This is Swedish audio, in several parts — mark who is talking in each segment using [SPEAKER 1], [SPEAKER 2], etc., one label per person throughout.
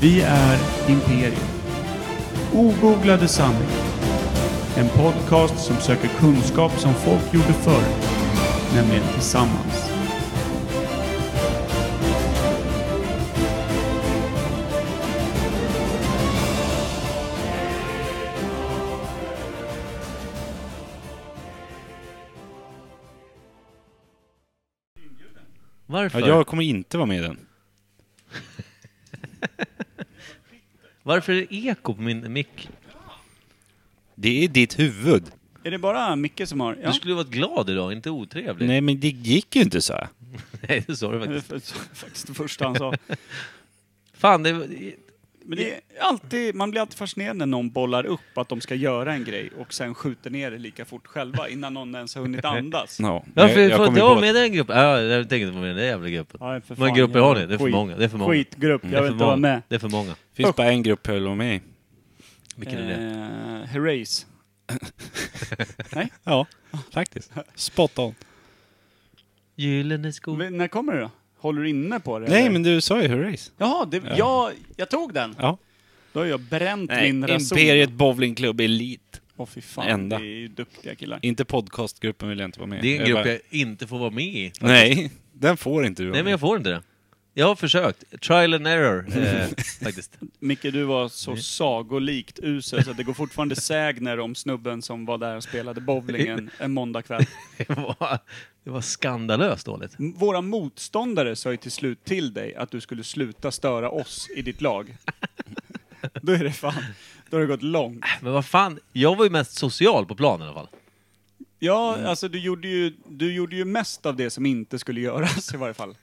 [SPEAKER 1] Vi är Imperium. Ogooglade sanningar. En podcast som söker kunskap som folk gjorde förr, nämligen tillsammans.
[SPEAKER 2] Varför?
[SPEAKER 3] Ja, jag kommer inte vara med i den.
[SPEAKER 2] Varför är det eko på min mick?
[SPEAKER 3] Det är ditt huvud.
[SPEAKER 1] Är det bara Micke som har?
[SPEAKER 2] Du skulle ju varit glad idag, inte otrevlig.
[SPEAKER 3] Nej, men det gick ju inte så. här.
[SPEAKER 2] Nej, det sa du
[SPEAKER 1] Det är
[SPEAKER 2] faktiskt.
[SPEAKER 1] faktiskt det första han sa.
[SPEAKER 2] Fan, det... var-
[SPEAKER 1] Men det är alltid, man blir alltid fascinerad när någon bollar upp att de ska göra en grej och sen skjuter ner det lika fort själva innan någon ens har hunnit andas.
[SPEAKER 3] Ja, men
[SPEAKER 2] Varför
[SPEAKER 3] jag
[SPEAKER 2] får
[SPEAKER 3] kommer
[SPEAKER 2] inte
[SPEAKER 3] på
[SPEAKER 2] vara
[SPEAKER 3] att-
[SPEAKER 2] med i den gruppen? Ja, jag tänker inte vara med i den jävla gruppen.
[SPEAKER 1] Ja, för
[SPEAKER 2] Hur många
[SPEAKER 1] fan,
[SPEAKER 2] grupper har ni? Det är för
[SPEAKER 1] skit-
[SPEAKER 2] många. Det är för många. Mm,
[SPEAKER 1] Skitgrupp,
[SPEAKER 2] Det är
[SPEAKER 1] jag
[SPEAKER 2] för
[SPEAKER 1] vill inte vara
[SPEAKER 2] många.
[SPEAKER 1] med.
[SPEAKER 2] Det är för många.
[SPEAKER 3] Det finns bara en grupp jag vill vara med i.
[SPEAKER 2] Vilken är det?
[SPEAKER 1] Eh, Herreys. Nej? Ja.
[SPEAKER 3] Faktiskt. Spot on.
[SPEAKER 2] Gyllene skog.
[SPEAKER 1] När kommer det då? Håller du inne på det?
[SPEAKER 3] Nej,
[SPEAKER 1] eller?
[SPEAKER 3] men du sa ju Hurrays.
[SPEAKER 1] Jaha, det, ja. jag, jag tog den.
[SPEAKER 3] Ja.
[SPEAKER 1] Då har jag bränt
[SPEAKER 3] Nej,
[SPEAKER 1] min rason.
[SPEAKER 3] Imperiet Bowlingklubb Elite.
[SPEAKER 1] Åh fy fan,
[SPEAKER 3] Enda.
[SPEAKER 1] det är ju duktiga killar.
[SPEAKER 3] Inte podcastgruppen vill jag inte vara med i.
[SPEAKER 2] Det är en grupp
[SPEAKER 3] bara-
[SPEAKER 2] jag inte får vara med i.
[SPEAKER 3] Nej, den får inte du vara
[SPEAKER 2] Nej, men
[SPEAKER 3] med
[SPEAKER 2] jag
[SPEAKER 3] i.
[SPEAKER 2] får inte det. Jag har försökt. Trial and error, eh, faktiskt.
[SPEAKER 1] Micke, du var så sagolikt usel så att det går fortfarande sägner om snubben som var där och spelade bowling en, en måndagkväll.
[SPEAKER 2] Det var, det var skandalöst dåligt.
[SPEAKER 1] M- Våra motståndare sa ju till slut till dig att du skulle sluta störa oss i ditt lag. Då är det fan, då har det gått långt.
[SPEAKER 2] Men vad fan, jag var ju mest social på planen i alla fall.
[SPEAKER 1] Ja,
[SPEAKER 3] Mm.
[SPEAKER 1] alltså du gjorde, ju, du gjorde ju mest av det som inte skulle göras i varje fall.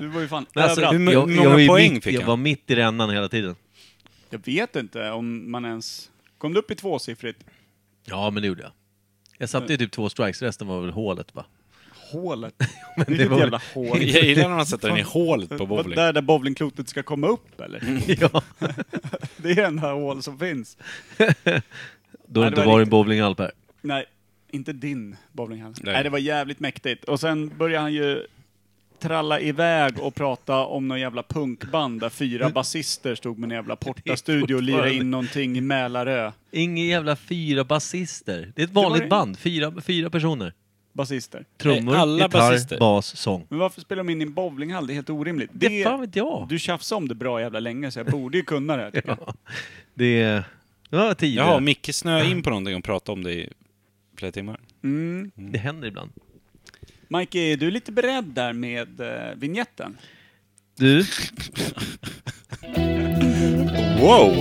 [SPEAKER 1] Du var ju fan
[SPEAKER 2] Men alltså,
[SPEAKER 1] överallt.
[SPEAKER 3] hur må-
[SPEAKER 2] jag, jag,
[SPEAKER 3] många
[SPEAKER 2] var ju
[SPEAKER 3] poäng
[SPEAKER 2] mitt,
[SPEAKER 3] fick
[SPEAKER 2] jag
[SPEAKER 3] han?
[SPEAKER 2] var mitt i rännan hela tiden.
[SPEAKER 1] Jag vet inte om man ens... Kom du upp i tvåsiffrigt?
[SPEAKER 2] Ja, men det gjorde jag. Jag satte ju typ två strikes, resten var väl hålet bara.
[SPEAKER 1] Hålet.
[SPEAKER 2] det
[SPEAKER 1] Vilket
[SPEAKER 2] var-
[SPEAKER 1] jävla hål.
[SPEAKER 3] Jag gillar när man sätter den i hålet på
[SPEAKER 1] Vad-
[SPEAKER 3] bowling. Mm.
[SPEAKER 1] Där, där bowlingklotet ska komma upp eller?
[SPEAKER 2] ja,
[SPEAKER 1] Det är det enda hål som finns.
[SPEAKER 2] då har
[SPEAKER 1] Nej,
[SPEAKER 2] det
[SPEAKER 1] det
[SPEAKER 2] inte
[SPEAKER 1] var
[SPEAKER 2] varit en
[SPEAKER 1] riktigt-
[SPEAKER 2] bowlinghall Per.
[SPEAKER 1] Nej, inte din bowlinghall. Nej.
[SPEAKER 3] Nej.
[SPEAKER 1] det var jävligt mäktigt. Och sen börjar han ju tralla iväg och prata om någon jävla punkband där
[SPEAKER 3] Mm.
[SPEAKER 1] fyra basister stod med en jävla portastudio och lirade in någonting i Mälarö.
[SPEAKER 2] Ingen jävla fyra basister. Det är ett
[SPEAKER 1] var
[SPEAKER 2] vanligt
[SPEAKER 1] det.
[SPEAKER 2] band, fyra, fyra personer.
[SPEAKER 1] Basister.
[SPEAKER 2] Trummor,
[SPEAKER 3] Nej, alla
[SPEAKER 2] gitarr,
[SPEAKER 3] basister.
[SPEAKER 2] bas, sång.
[SPEAKER 1] Men varför spelar de in i en bowlinghall? Det är helt orimligt.
[SPEAKER 2] Det, fan vet jag.
[SPEAKER 1] Du tjafsade om det bra jävla länge så jag borde ju kunna det här tycker jag.
[SPEAKER 2] Det är... Det var tidigare.
[SPEAKER 3] Jaha, Micke snöade in på någonting och pratade om det i flera timmar.
[SPEAKER 1] Mm.
[SPEAKER 2] Det händer ibland.
[SPEAKER 1] Mike, är du lite beredd där med eh, vignetten?
[SPEAKER 2] Du,
[SPEAKER 3] Wow!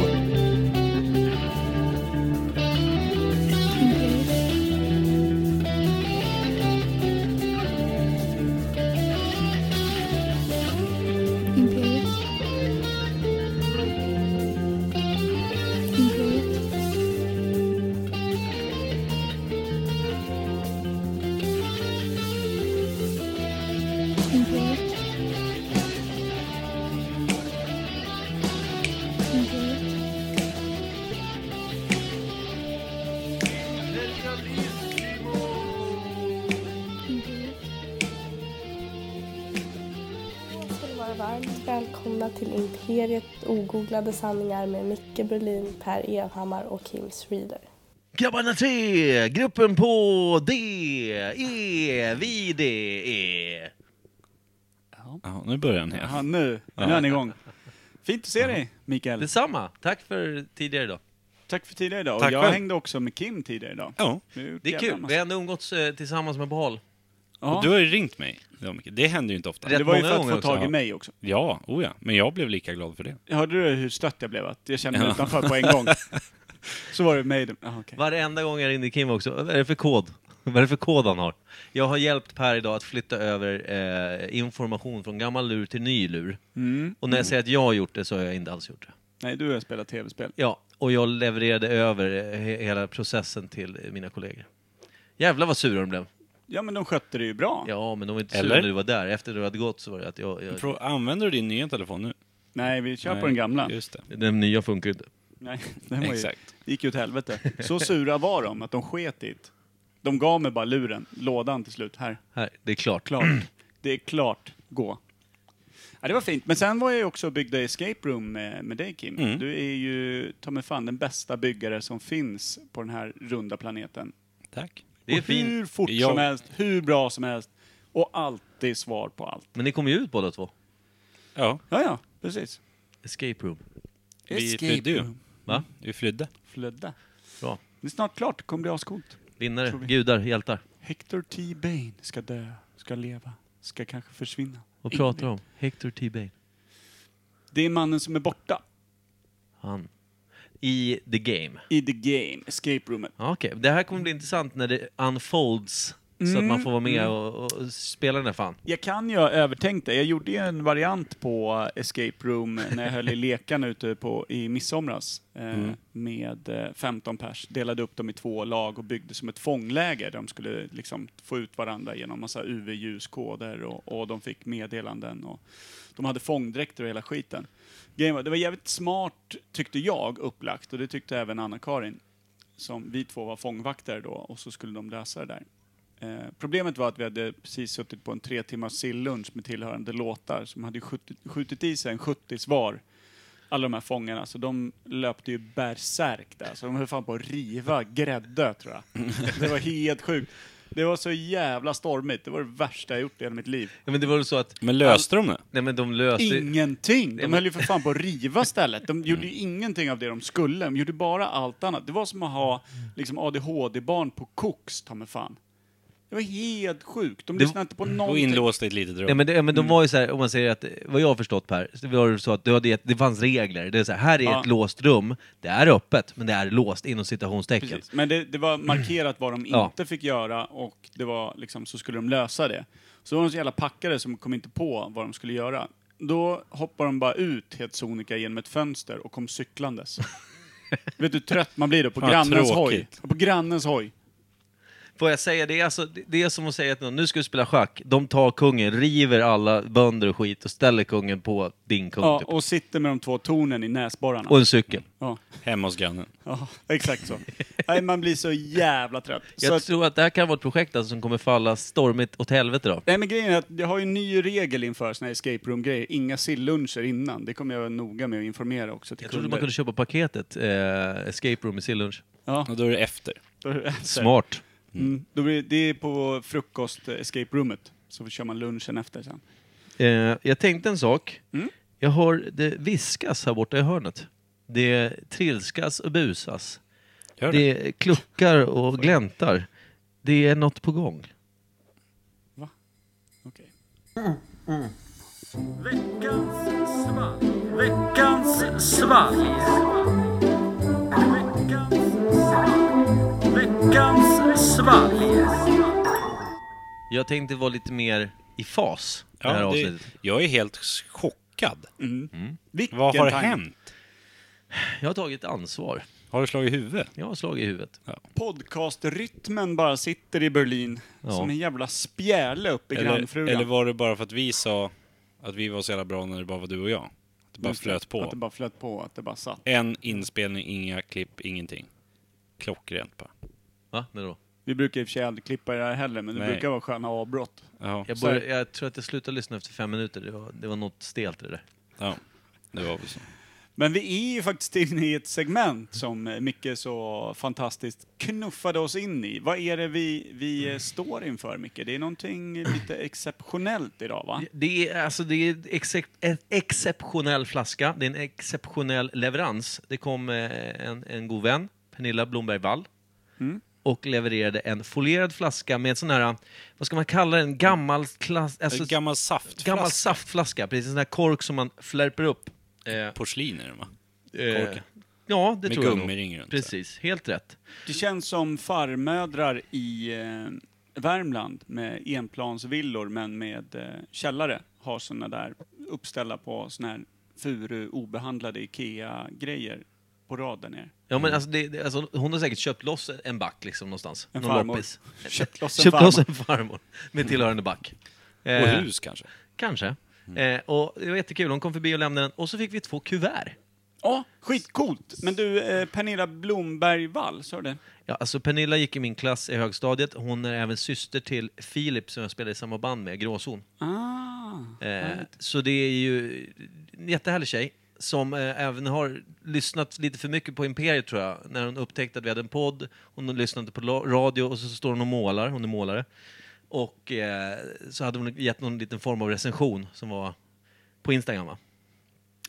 [SPEAKER 4] Imperiet. Imperiet. Imperiet. Imperiet. Imperiet.
[SPEAKER 5] ska ni vara varmt välkomna till Imperiet ogooglade sanningar med Micke Berlin, Per Evhammar och Kim Reader.
[SPEAKER 2] grabbarna tre, gruppen på D, E, vi D, E.
[SPEAKER 3] Ja, nu börjar han igen.
[SPEAKER 1] Ja, nu, nu är han igång. Fint att se dig, Mikael.
[SPEAKER 2] Detsamma. Tack för tidigare idag.
[SPEAKER 1] Tack för tidigare idag. Och
[SPEAKER 3] Tack
[SPEAKER 1] jag
[SPEAKER 3] själv.
[SPEAKER 1] hängde också med Kim tidigare idag.
[SPEAKER 3] Ja.
[SPEAKER 1] Vi har gjort
[SPEAKER 2] Det är
[SPEAKER 1] jävla
[SPEAKER 2] kul.
[SPEAKER 1] massa-
[SPEAKER 2] Vi har ändå umgåtts eh, tillsammans med behåll.
[SPEAKER 1] Ja.
[SPEAKER 3] Och du har ju ringt mig. Ja, Micke. Det händer ju inte ofta.
[SPEAKER 2] Rätt
[SPEAKER 1] Det var ju
[SPEAKER 2] många
[SPEAKER 1] för att
[SPEAKER 2] gånger
[SPEAKER 1] få tag
[SPEAKER 3] också,
[SPEAKER 1] i
[SPEAKER 3] ja.
[SPEAKER 1] mig också.
[SPEAKER 3] Ja, oh ja. Men jag blev lika glad för det.
[SPEAKER 1] Hörde du hur stött jag blev? Att jag kände mig utanför på en gång. Så var det mig. Ah, okay.
[SPEAKER 2] Varenda gång jag ringde Kim också, vad är det för kod? Vad är det för kod han har? Jag har hjälpt Per idag att flytta över eh, information från gammal lur till ny lur.
[SPEAKER 1] mm.
[SPEAKER 2] Och när jag säger att jag har gjort det så har jag inte alls gjort det.
[SPEAKER 1] Nej, du har spelat tv-spel.
[SPEAKER 2] Ja, och jag levererade över eh, he- hela processen till eh, mina kollegor. Jävlar vad sura de blev.
[SPEAKER 1] Ja, men de skötte det ju bra.
[SPEAKER 2] Ja, men de var inte
[SPEAKER 3] Eller?
[SPEAKER 2] sura när du var där. Efter du hade gått så var det att jag... jag
[SPEAKER 3] Frå- Använder du din nya telefon nu?
[SPEAKER 1] Nej, vi kör
[SPEAKER 3] Nej,
[SPEAKER 1] på den gamla.
[SPEAKER 3] Just det.
[SPEAKER 2] den nya funkar inte.
[SPEAKER 1] Nej, den var ju,
[SPEAKER 3] Exakt.
[SPEAKER 1] det gick ju åt helvete. Så sura var de att de sket i det. De gav mig bara luren, lådan till slut. Här,
[SPEAKER 2] Här, det är klart.
[SPEAKER 1] klart. Det är klart, gå. Ja, det var fint. Men sen var jag ju också och byggde escape room med, med dig Kim.
[SPEAKER 3] Mm.
[SPEAKER 1] Du är ju ta mig fan den bästa byggare som finns på den här runda planeten.
[SPEAKER 3] Tack.
[SPEAKER 2] Det är
[SPEAKER 1] och hur
[SPEAKER 2] fint.
[SPEAKER 1] fort
[SPEAKER 3] Jag-
[SPEAKER 1] som helst, hur bra som helst och alltid svar på allt.
[SPEAKER 2] Men ni kom ju ut båda två.
[SPEAKER 3] Ja,
[SPEAKER 1] Ja, ja, precis.
[SPEAKER 2] Escape room.
[SPEAKER 3] vi flydde ju.
[SPEAKER 2] Va?
[SPEAKER 3] Vi flydde.
[SPEAKER 1] Flödda.
[SPEAKER 2] Bra.
[SPEAKER 1] Det är snart klart, det kommer bli ascoolt.
[SPEAKER 2] Vinnare,
[SPEAKER 1] Tror vi.
[SPEAKER 2] gudar, hjältar.
[SPEAKER 1] Hector T. Bane ska dö, ska leva, ska kanske försvinna.
[SPEAKER 2] Vad pratar du om? Hector T. Bane.
[SPEAKER 1] Det är mannen som är borta
[SPEAKER 2] Han. I the game.
[SPEAKER 1] i the game, escape roomet.
[SPEAKER 2] Ja, Okej, det här kommer bli intressant när det unfolds. Så att man får vara
[SPEAKER 1] Mm.
[SPEAKER 2] med och, och spela den här fan.
[SPEAKER 1] Jag kan ju ha övertänkt det. Jag gjorde ju en variant på Escape Room när jag höll i lekan ute på, i midsomras eh, med eh, 15 pers. Delade upp dem i två lag och byggde som ett fångläger där de skulle liksom få ut varandra genom massa UV-ljuskoder och, och de fick meddelanden och de hade fångdräkter och hela skiten. Grejen var- Det var jävligt smart, tyckte jag, upplagt och det tyckte även Anna-Karin. Som vi två var fångvaktare då och så skulle de lösa det där. Eh, problemet var att vi hade precis suttit på en tre timmars sillunch med tillhörande låtar som hade skjutit, skjutit i sig en 70 var. Alla de här fångarna, så de löpte ju bärsärk där. Så de höll fan på att riva grädde tror jag. Det var helt sjukt. Det var så jävla stormigt. Det var det värsta jag gjort i hela mitt liv.
[SPEAKER 2] Ja, men det var väl så att...
[SPEAKER 3] Men löste de det?
[SPEAKER 2] Nej men de löste...
[SPEAKER 1] Ingenting!
[SPEAKER 2] Nej,
[SPEAKER 1] De
[SPEAKER 2] men-
[SPEAKER 1] höll ju för fan på att riva stället. De gjorde ju ingenting av det de skulle. De gjorde bara allt annat. Det var som att ha liksom ADHD-barn på koks, ta mig fan. Det var helt sjukt. De
[SPEAKER 2] Det-
[SPEAKER 1] lyssnade inte på
[SPEAKER 3] Och
[SPEAKER 1] någonting.
[SPEAKER 3] inlåst i ett litet rum.
[SPEAKER 2] Nej, men, det, men de
[SPEAKER 1] Mm.
[SPEAKER 2] var ju så här, om man säger att, vad jag har förstått Per, så var det så att du hade gett, det fanns regler. Det är så här, här är
[SPEAKER 1] Ja.
[SPEAKER 2] ett låst rum, det är öppet, men det är låst inom citationstecken.
[SPEAKER 1] Precis. Men det, det var markerat vad de
[SPEAKER 2] Ja.
[SPEAKER 1] inte fick göra och det var liksom, så skulle de lösa det. Så var de så jävla packade som kom inte på vad de skulle göra. Då hoppade de bara ut helt sonika genom ett fönster och kom cyklandes. Vet du hur trött man blir då? På
[SPEAKER 3] Fan,
[SPEAKER 1] grannens hoj.
[SPEAKER 3] tråkigt.
[SPEAKER 1] På grannens hoj.
[SPEAKER 2] Får jag säga, det är, alltså, det är som att säga att någon, nu ska vi spela schack, de tar kungen, river alla bönder och skit och ställer kungen på din kung
[SPEAKER 1] Ja,
[SPEAKER 2] typ.
[SPEAKER 1] och sitter med de två tornen i näsborrarna.
[SPEAKER 2] och en cykel.
[SPEAKER 1] Ja,
[SPEAKER 3] Hemma hos grannen.
[SPEAKER 1] ja, exakt så. Nej, man blir så jävla trött. Så
[SPEAKER 2] Jag
[SPEAKER 1] att,
[SPEAKER 2] tror att det här kan vara ett projekt alltså, som kommer falla stormigt åt helvete då.
[SPEAKER 1] nej, men grejen är att jag har ju en ny regel inför såna här escape room-grejer. Inga silluncher innan. Det kommer jag vara noga med att informera också till
[SPEAKER 2] Jag trodde
[SPEAKER 1] kunder.
[SPEAKER 2] man kunde köpa paketet, eh, Escape Room i Sillunch.
[SPEAKER 1] Ja,
[SPEAKER 3] Och då är det efter.
[SPEAKER 1] då är det efter.
[SPEAKER 2] Smart.
[SPEAKER 1] Mm. Då blir det är på frukost-escape-rummet. Så kör man lunchen efter sen.
[SPEAKER 2] Eh, jag tänkte en sak.
[SPEAKER 1] Mm.
[SPEAKER 2] Jag hör det viskas här borta i hörnet. Det trilskas och busas.
[SPEAKER 3] Gör det?
[SPEAKER 2] Det kluckar och gläntar. Det är något på gång.
[SPEAKER 1] Okej.
[SPEAKER 2] Jag tänkte vara lite mer i fas det här
[SPEAKER 3] Ja, det,
[SPEAKER 2] avsnittet.
[SPEAKER 3] jag är helt chockad.
[SPEAKER 1] Vilken
[SPEAKER 3] Vad har
[SPEAKER 1] tanke.
[SPEAKER 3] hänt?
[SPEAKER 2] Jag har tagit ansvar.
[SPEAKER 3] Har du slagit huvudet?
[SPEAKER 2] Jag har slagit i huvudet.
[SPEAKER 1] Podcastrytmen bara sitter i Berlin.
[SPEAKER 2] Ja.
[SPEAKER 1] Som en jävla spjäle upp i
[SPEAKER 3] Eller,
[SPEAKER 1] grannfrugan.
[SPEAKER 3] eller var det bara för att vi sa att vi var så jävla bra när det bara var du och jag? Att det bara
[SPEAKER 1] Just det,
[SPEAKER 3] flöt på.
[SPEAKER 1] Att det bara flöt på, att det bara satt.
[SPEAKER 3] En inspelning, inga klipp, ingenting. Klockrent bara.
[SPEAKER 2] Va? När då?
[SPEAKER 1] Vi brukar i och för sig aldrig klippa det här heller, men det
[SPEAKER 3] Nej.
[SPEAKER 1] brukar vara sköna avbrott.
[SPEAKER 3] Ja,
[SPEAKER 2] Jag,
[SPEAKER 1] Så
[SPEAKER 2] började,
[SPEAKER 1] här-
[SPEAKER 2] jag tror att jag slutade lyssna efter fem minuter. Det var, det var något stelt i det där.
[SPEAKER 3] ja det var väl så.
[SPEAKER 1] Men vi är ju faktiskt inne i ett segment som eh, Micke så fantastiskt knuffade oss in i. Vad är det vi, vi eh, står inför, Micke? Det är någonting lite exceptionellt idag, va?
[SPEAKER 2] Det är, alltså, det är excep- en exceptionell flaska, det är en exceptionell leverans. Det kom eh, en, en god vän, Pernilla Blomberg Wall, och levererade en folierad flaska med en sån här, vad ska man kalla den, gammal klass... Alltså,
[SPEAKER 3] En gammal saftflaska.
[SPEAKER 2] gammal saftflaska, precis en sån här kork som man flärper upp. Eh,
[SPEAKER 3] Porslin är det va?
[SPEAKER 2] eh, ja, det
[SPEAKER 3] Med
[SPEAKER 2] tror jag nog.
[SPEAKER 3] gummiring runt.
[SPEAKER 2] Precis, helt rätt.
[SPEAKER 1] Det känns som farmödrar i eh, Värmland med enplansvillor, men med eh, källare, har såna där uppställda på såna här furu obehandlade IKEA-grejer på rad där nere.
[SPEAKER 2] Ja, men alltså, det, det, alltså, hon har säkert köpt loss en back liksom någonstans.
[SPEAKER 1] En
[SPEAKER 2] Någon
[SPEAKER 1] farmor.
[SPEAKER 2] loppis.
[SPEAKER 1] Köpt loss en
[SPEAKER 2] Köpt loss
[SPEAKER 1] farmor.
[SPEAKER 2] en farmor med tillhörande back.
[SPEAKER 3] Och
[SPEAKER 2] Eh,
[SPEAKER 3] hus kanske.
[SPEAKER 2] Kanske. Eh, och det var jättekul, hon kom förbi och lämnade den och så fick vi två kuvert.
[SPEAKER 1] Ja, skitcoolt! Men du, eh, Pernilla Blomberg Wall, sa du det?
[SPEAKER 2] Ja, alltså Pernilla gick i min klass i högstadiet. Hon är även syster till Filip som jag spelade i samma band med, Gråzon.
[SPEAKER 1] Ah,
[SPEAKER 2] Eh, så det är ju en jättehärlig tjej som eh, även har lyssnat lite för mycket på Imperiet tror jag. När hon upptäckte att vi hade en podd, hon lyssnade på la- radio och så står hon och målar, hon är målare. Och eh, så hade hon gett någon liten form av recension som var på Instagram va?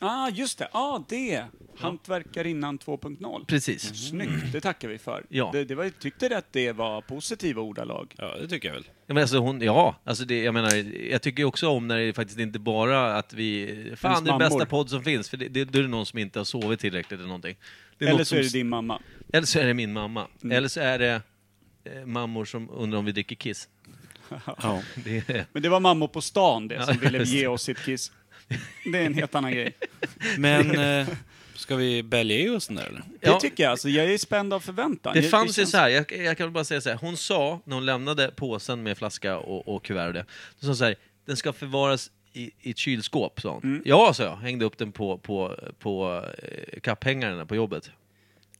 [SPEAKER 1] ah just det. Ah, det! Hantverkarinnan 2.0.
[SPEAKER 2] Precis.
[SPEAKER 1] Snyggt, det tackar vi för.
[SPEAKER 2] Ja.
[SPEAKER 1] Det, det var, tyckte du att det var positiva ordalag?
[SPEAKER 3] Ja, det tycker jag väl.
[SPEAKER 2] Ja, men alltså hon, ja, alltså det, jag menar, jag tycker ju också om när det faktiskt inte bara att vi... Fan, det är
[SPEAKER 1] mammor.
[SPEAKER 2] bästa podd som finns, för det, det, då är det någon som inte har sovit tillräckligt eller någonting. Det
[SPEAKER 1] Eller
[SPEAKER 2] något
[SPEAKER 1] så är det
[SPEAKER 2] som-
[SPEAKER 1] din Mm. mamma.
[SPEAKER 2] eller så är det min mamma. Eller så är det eh, mammor som undrar om vi dricker kiss.
[SPEAKER 3] Ja.
[SPEAKER 2] Det är,
[SPEAKER 1] Men det var mammor på stan det, som
[SPEAKER 2] Ja,
[SPEAKER 1] ville
[SPEAKER 2] just
[SPEAKER 1] ge
[SPEAKER 2] det.
[SPEAKER 1] oss sitt kiss. Det är en helt annan grej.
[SPEAKER 3] Men eh, ska vi bälga i oss den där eller?
[SPEAKER 1] Det
[SPEAKER 2] Ja.
[SPEAKER 1] tycker jag. Alltså, jag är spänd av förväntan.
[SPEAKER 2] det
[SPEAKER 1] Jag-
[SPEAKER 2] fanns ju
[SPEAKER 1] känns-
[SPEAKER 2] så här, jag, jag kan väl bara säga så här. Hon sa, när hon lämnade påsen med flaska och, och kuvert och det, då sa hon så här, den ska förvaras i, i ett kylskåp, sa hon.
[SPEAKER 1] Mm.
[SPEAKER 2] Ja, sa jag, hängde upp den på, på, på eh, kapphängaren på jobbet.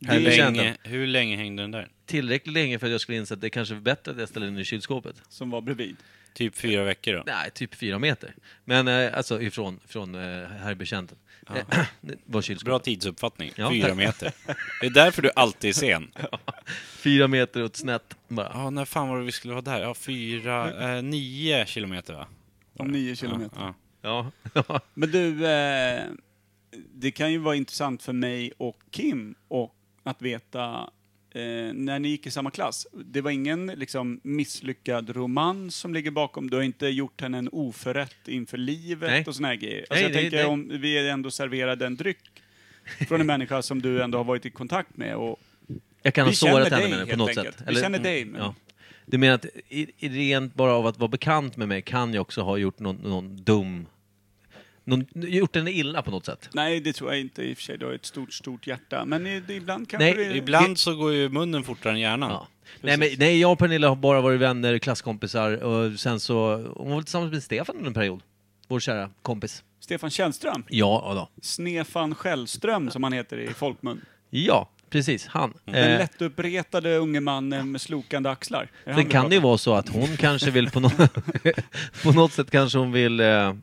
[SPEAKER 3] Hur
[SPEAKER 2] Hur känns
[SPEAKER 3] länge, hur länge hängde den där?
[SPEAKER 2] tillräckligt länge för att jag skulle inse att det kanske är bättre att jag ställer den i kylskåpet.
[SPEAKER 1] Som var bredvid.
[SPEAKER 3] Typ fyra veckor då?
[SPEAKER 2] Nej, typ fyra meter. Men eh, alltså ifrån från eh, herrbetjänten. Eh, det var kylskåpet.
[SPEAKER 3] Bra tidsuppfattning.
[SPEAKER 2] Ja,
[SPEAKER 3] Fyra
[SPEAKER 2] tack.
[SPEAKER 3] meter. Det är därför du alltid är sen.
[SPEAKER 2] Fyra meter åt snett bara.
[SPEAKER 3] Ja, när fan var det vi skulle vara där? Ja, fyra, eh, nio kilometer va?
[SPEAKER 1] Om nio kilometer.
[SPEAKER 3] Ja,
[SPEAKER 2] Ja.
[SPEAKER 1] Men du, eh, det kan ju vara intressant för mig och Kim och att veta eh, när ni gick i samma klass. Det var ingen liksom, misslyckad roman som ligger bakom. Du har inte gjort henne en oförrätt inför livet
[SPEAKER 2] Nej.
[SPEAKER 1] och såna här grejer. Alltså,
[SPEAKER 2] Nej,
[SPEAKER 1] jag
[SPEAKER 2] det-
[SPEAKER 1] tänker
[SPEAKER 2] det-
[SPEAKER 1] om vi är ändå serverade en dryck från en människa som du ändå har varit i kontakt med. Och,
[SPEAKER 2] Jag kan
[SPEAKER 1] Vi
[SPEAKER 2] ha sårat
[SPEAKER 1] känner
[SPEAKER 2] henne
[SPEAKER 1] dig,
[SPEAKER 2] med det på
[SPEAKER 1] helt
[SPEAKER 2] något
[SPEAKER 1] enkelt.
[SPEAKER 2] sätt. mm,
[SPEAKER 1] Vi känner dig, men-
[SPEAKER 2] Ja. Du menar att i, i rent bara av att vara bekant med mig kan jag också ha gjort någon, någon dum... Någon, gjort henne illa på något sätt.
[SPEAKER 1] nej, det tror jag inte i och för sig. Du har ett stort, stort hjärta. Men i- det, ibland kanske
[SPEAKER 2] Nej,
[SPEAKER 1] det...
[SPEAKER 3] Ibland så går ju munnen fortare än hjärnan.
[SPEAKER 2] Ja. Nej, men, nej, jag och Pernilla har bara varit vänner, klasskompisar och sen så... Hon var väl tillsammans med Stefan under en period. Vår kära kompis.
[SPEAKER 1] Stefan Källström.
[SPEAKER 2] Ja, ja då.
[SPEAKER 1] Snefan Källström, som han heter i folkmun.
[SPEAKER 2] Ja, precis. Han.
[SPEAKER 1] Den
[SPEAKER 2] Eh,
[SPEAKER 1] lättupprepade unge mannen med slokande axlar. Är det han
[SPEAKER 2] sen
[SPEAKER 1] vi
[SPEAKER 2] kan det ju
[SPEAKER 1] pratar om?
[SPEAKER 2] vara så att hon kanske vill på, nå på något sätt kanske hon vill eh,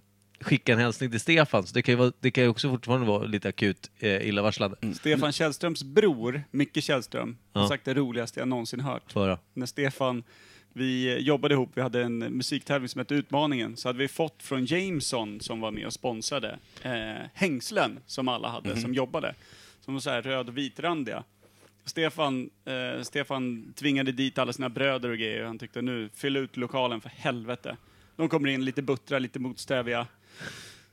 [SPEAKER 2] skicka en hälsning till Stefan. Så det kan ju, vara, det kan ju också fortfarande vara lite akut eh, illavarslande.
[SPEAKER 1] Stefan Källströms bror, Micke Källström, har
[SPEAKER 2] Ja.
[SPEAKER 1] sagt det roligaste jag någonsin hört.
[SPEAKER 2] Föra.
[SPEAKER 1] När Stefan, vi jobbade ihop, vi hade en musiktävling som hette Utmaningen, så hade vi fått från Jameson, som var med och sponsrade, eh, hängslen som alla hade
[SPEAKER 2] Mhm.
[SPEAKER 1] som jobbade. Som var så här röd och vitrandiga. Stefan, eh, Stefan tvingade dit alla sina bröder och grejer. Han tyckte nu, fyll ut lokalen för helvete. De kommer in lite buttra, lite motstäviga.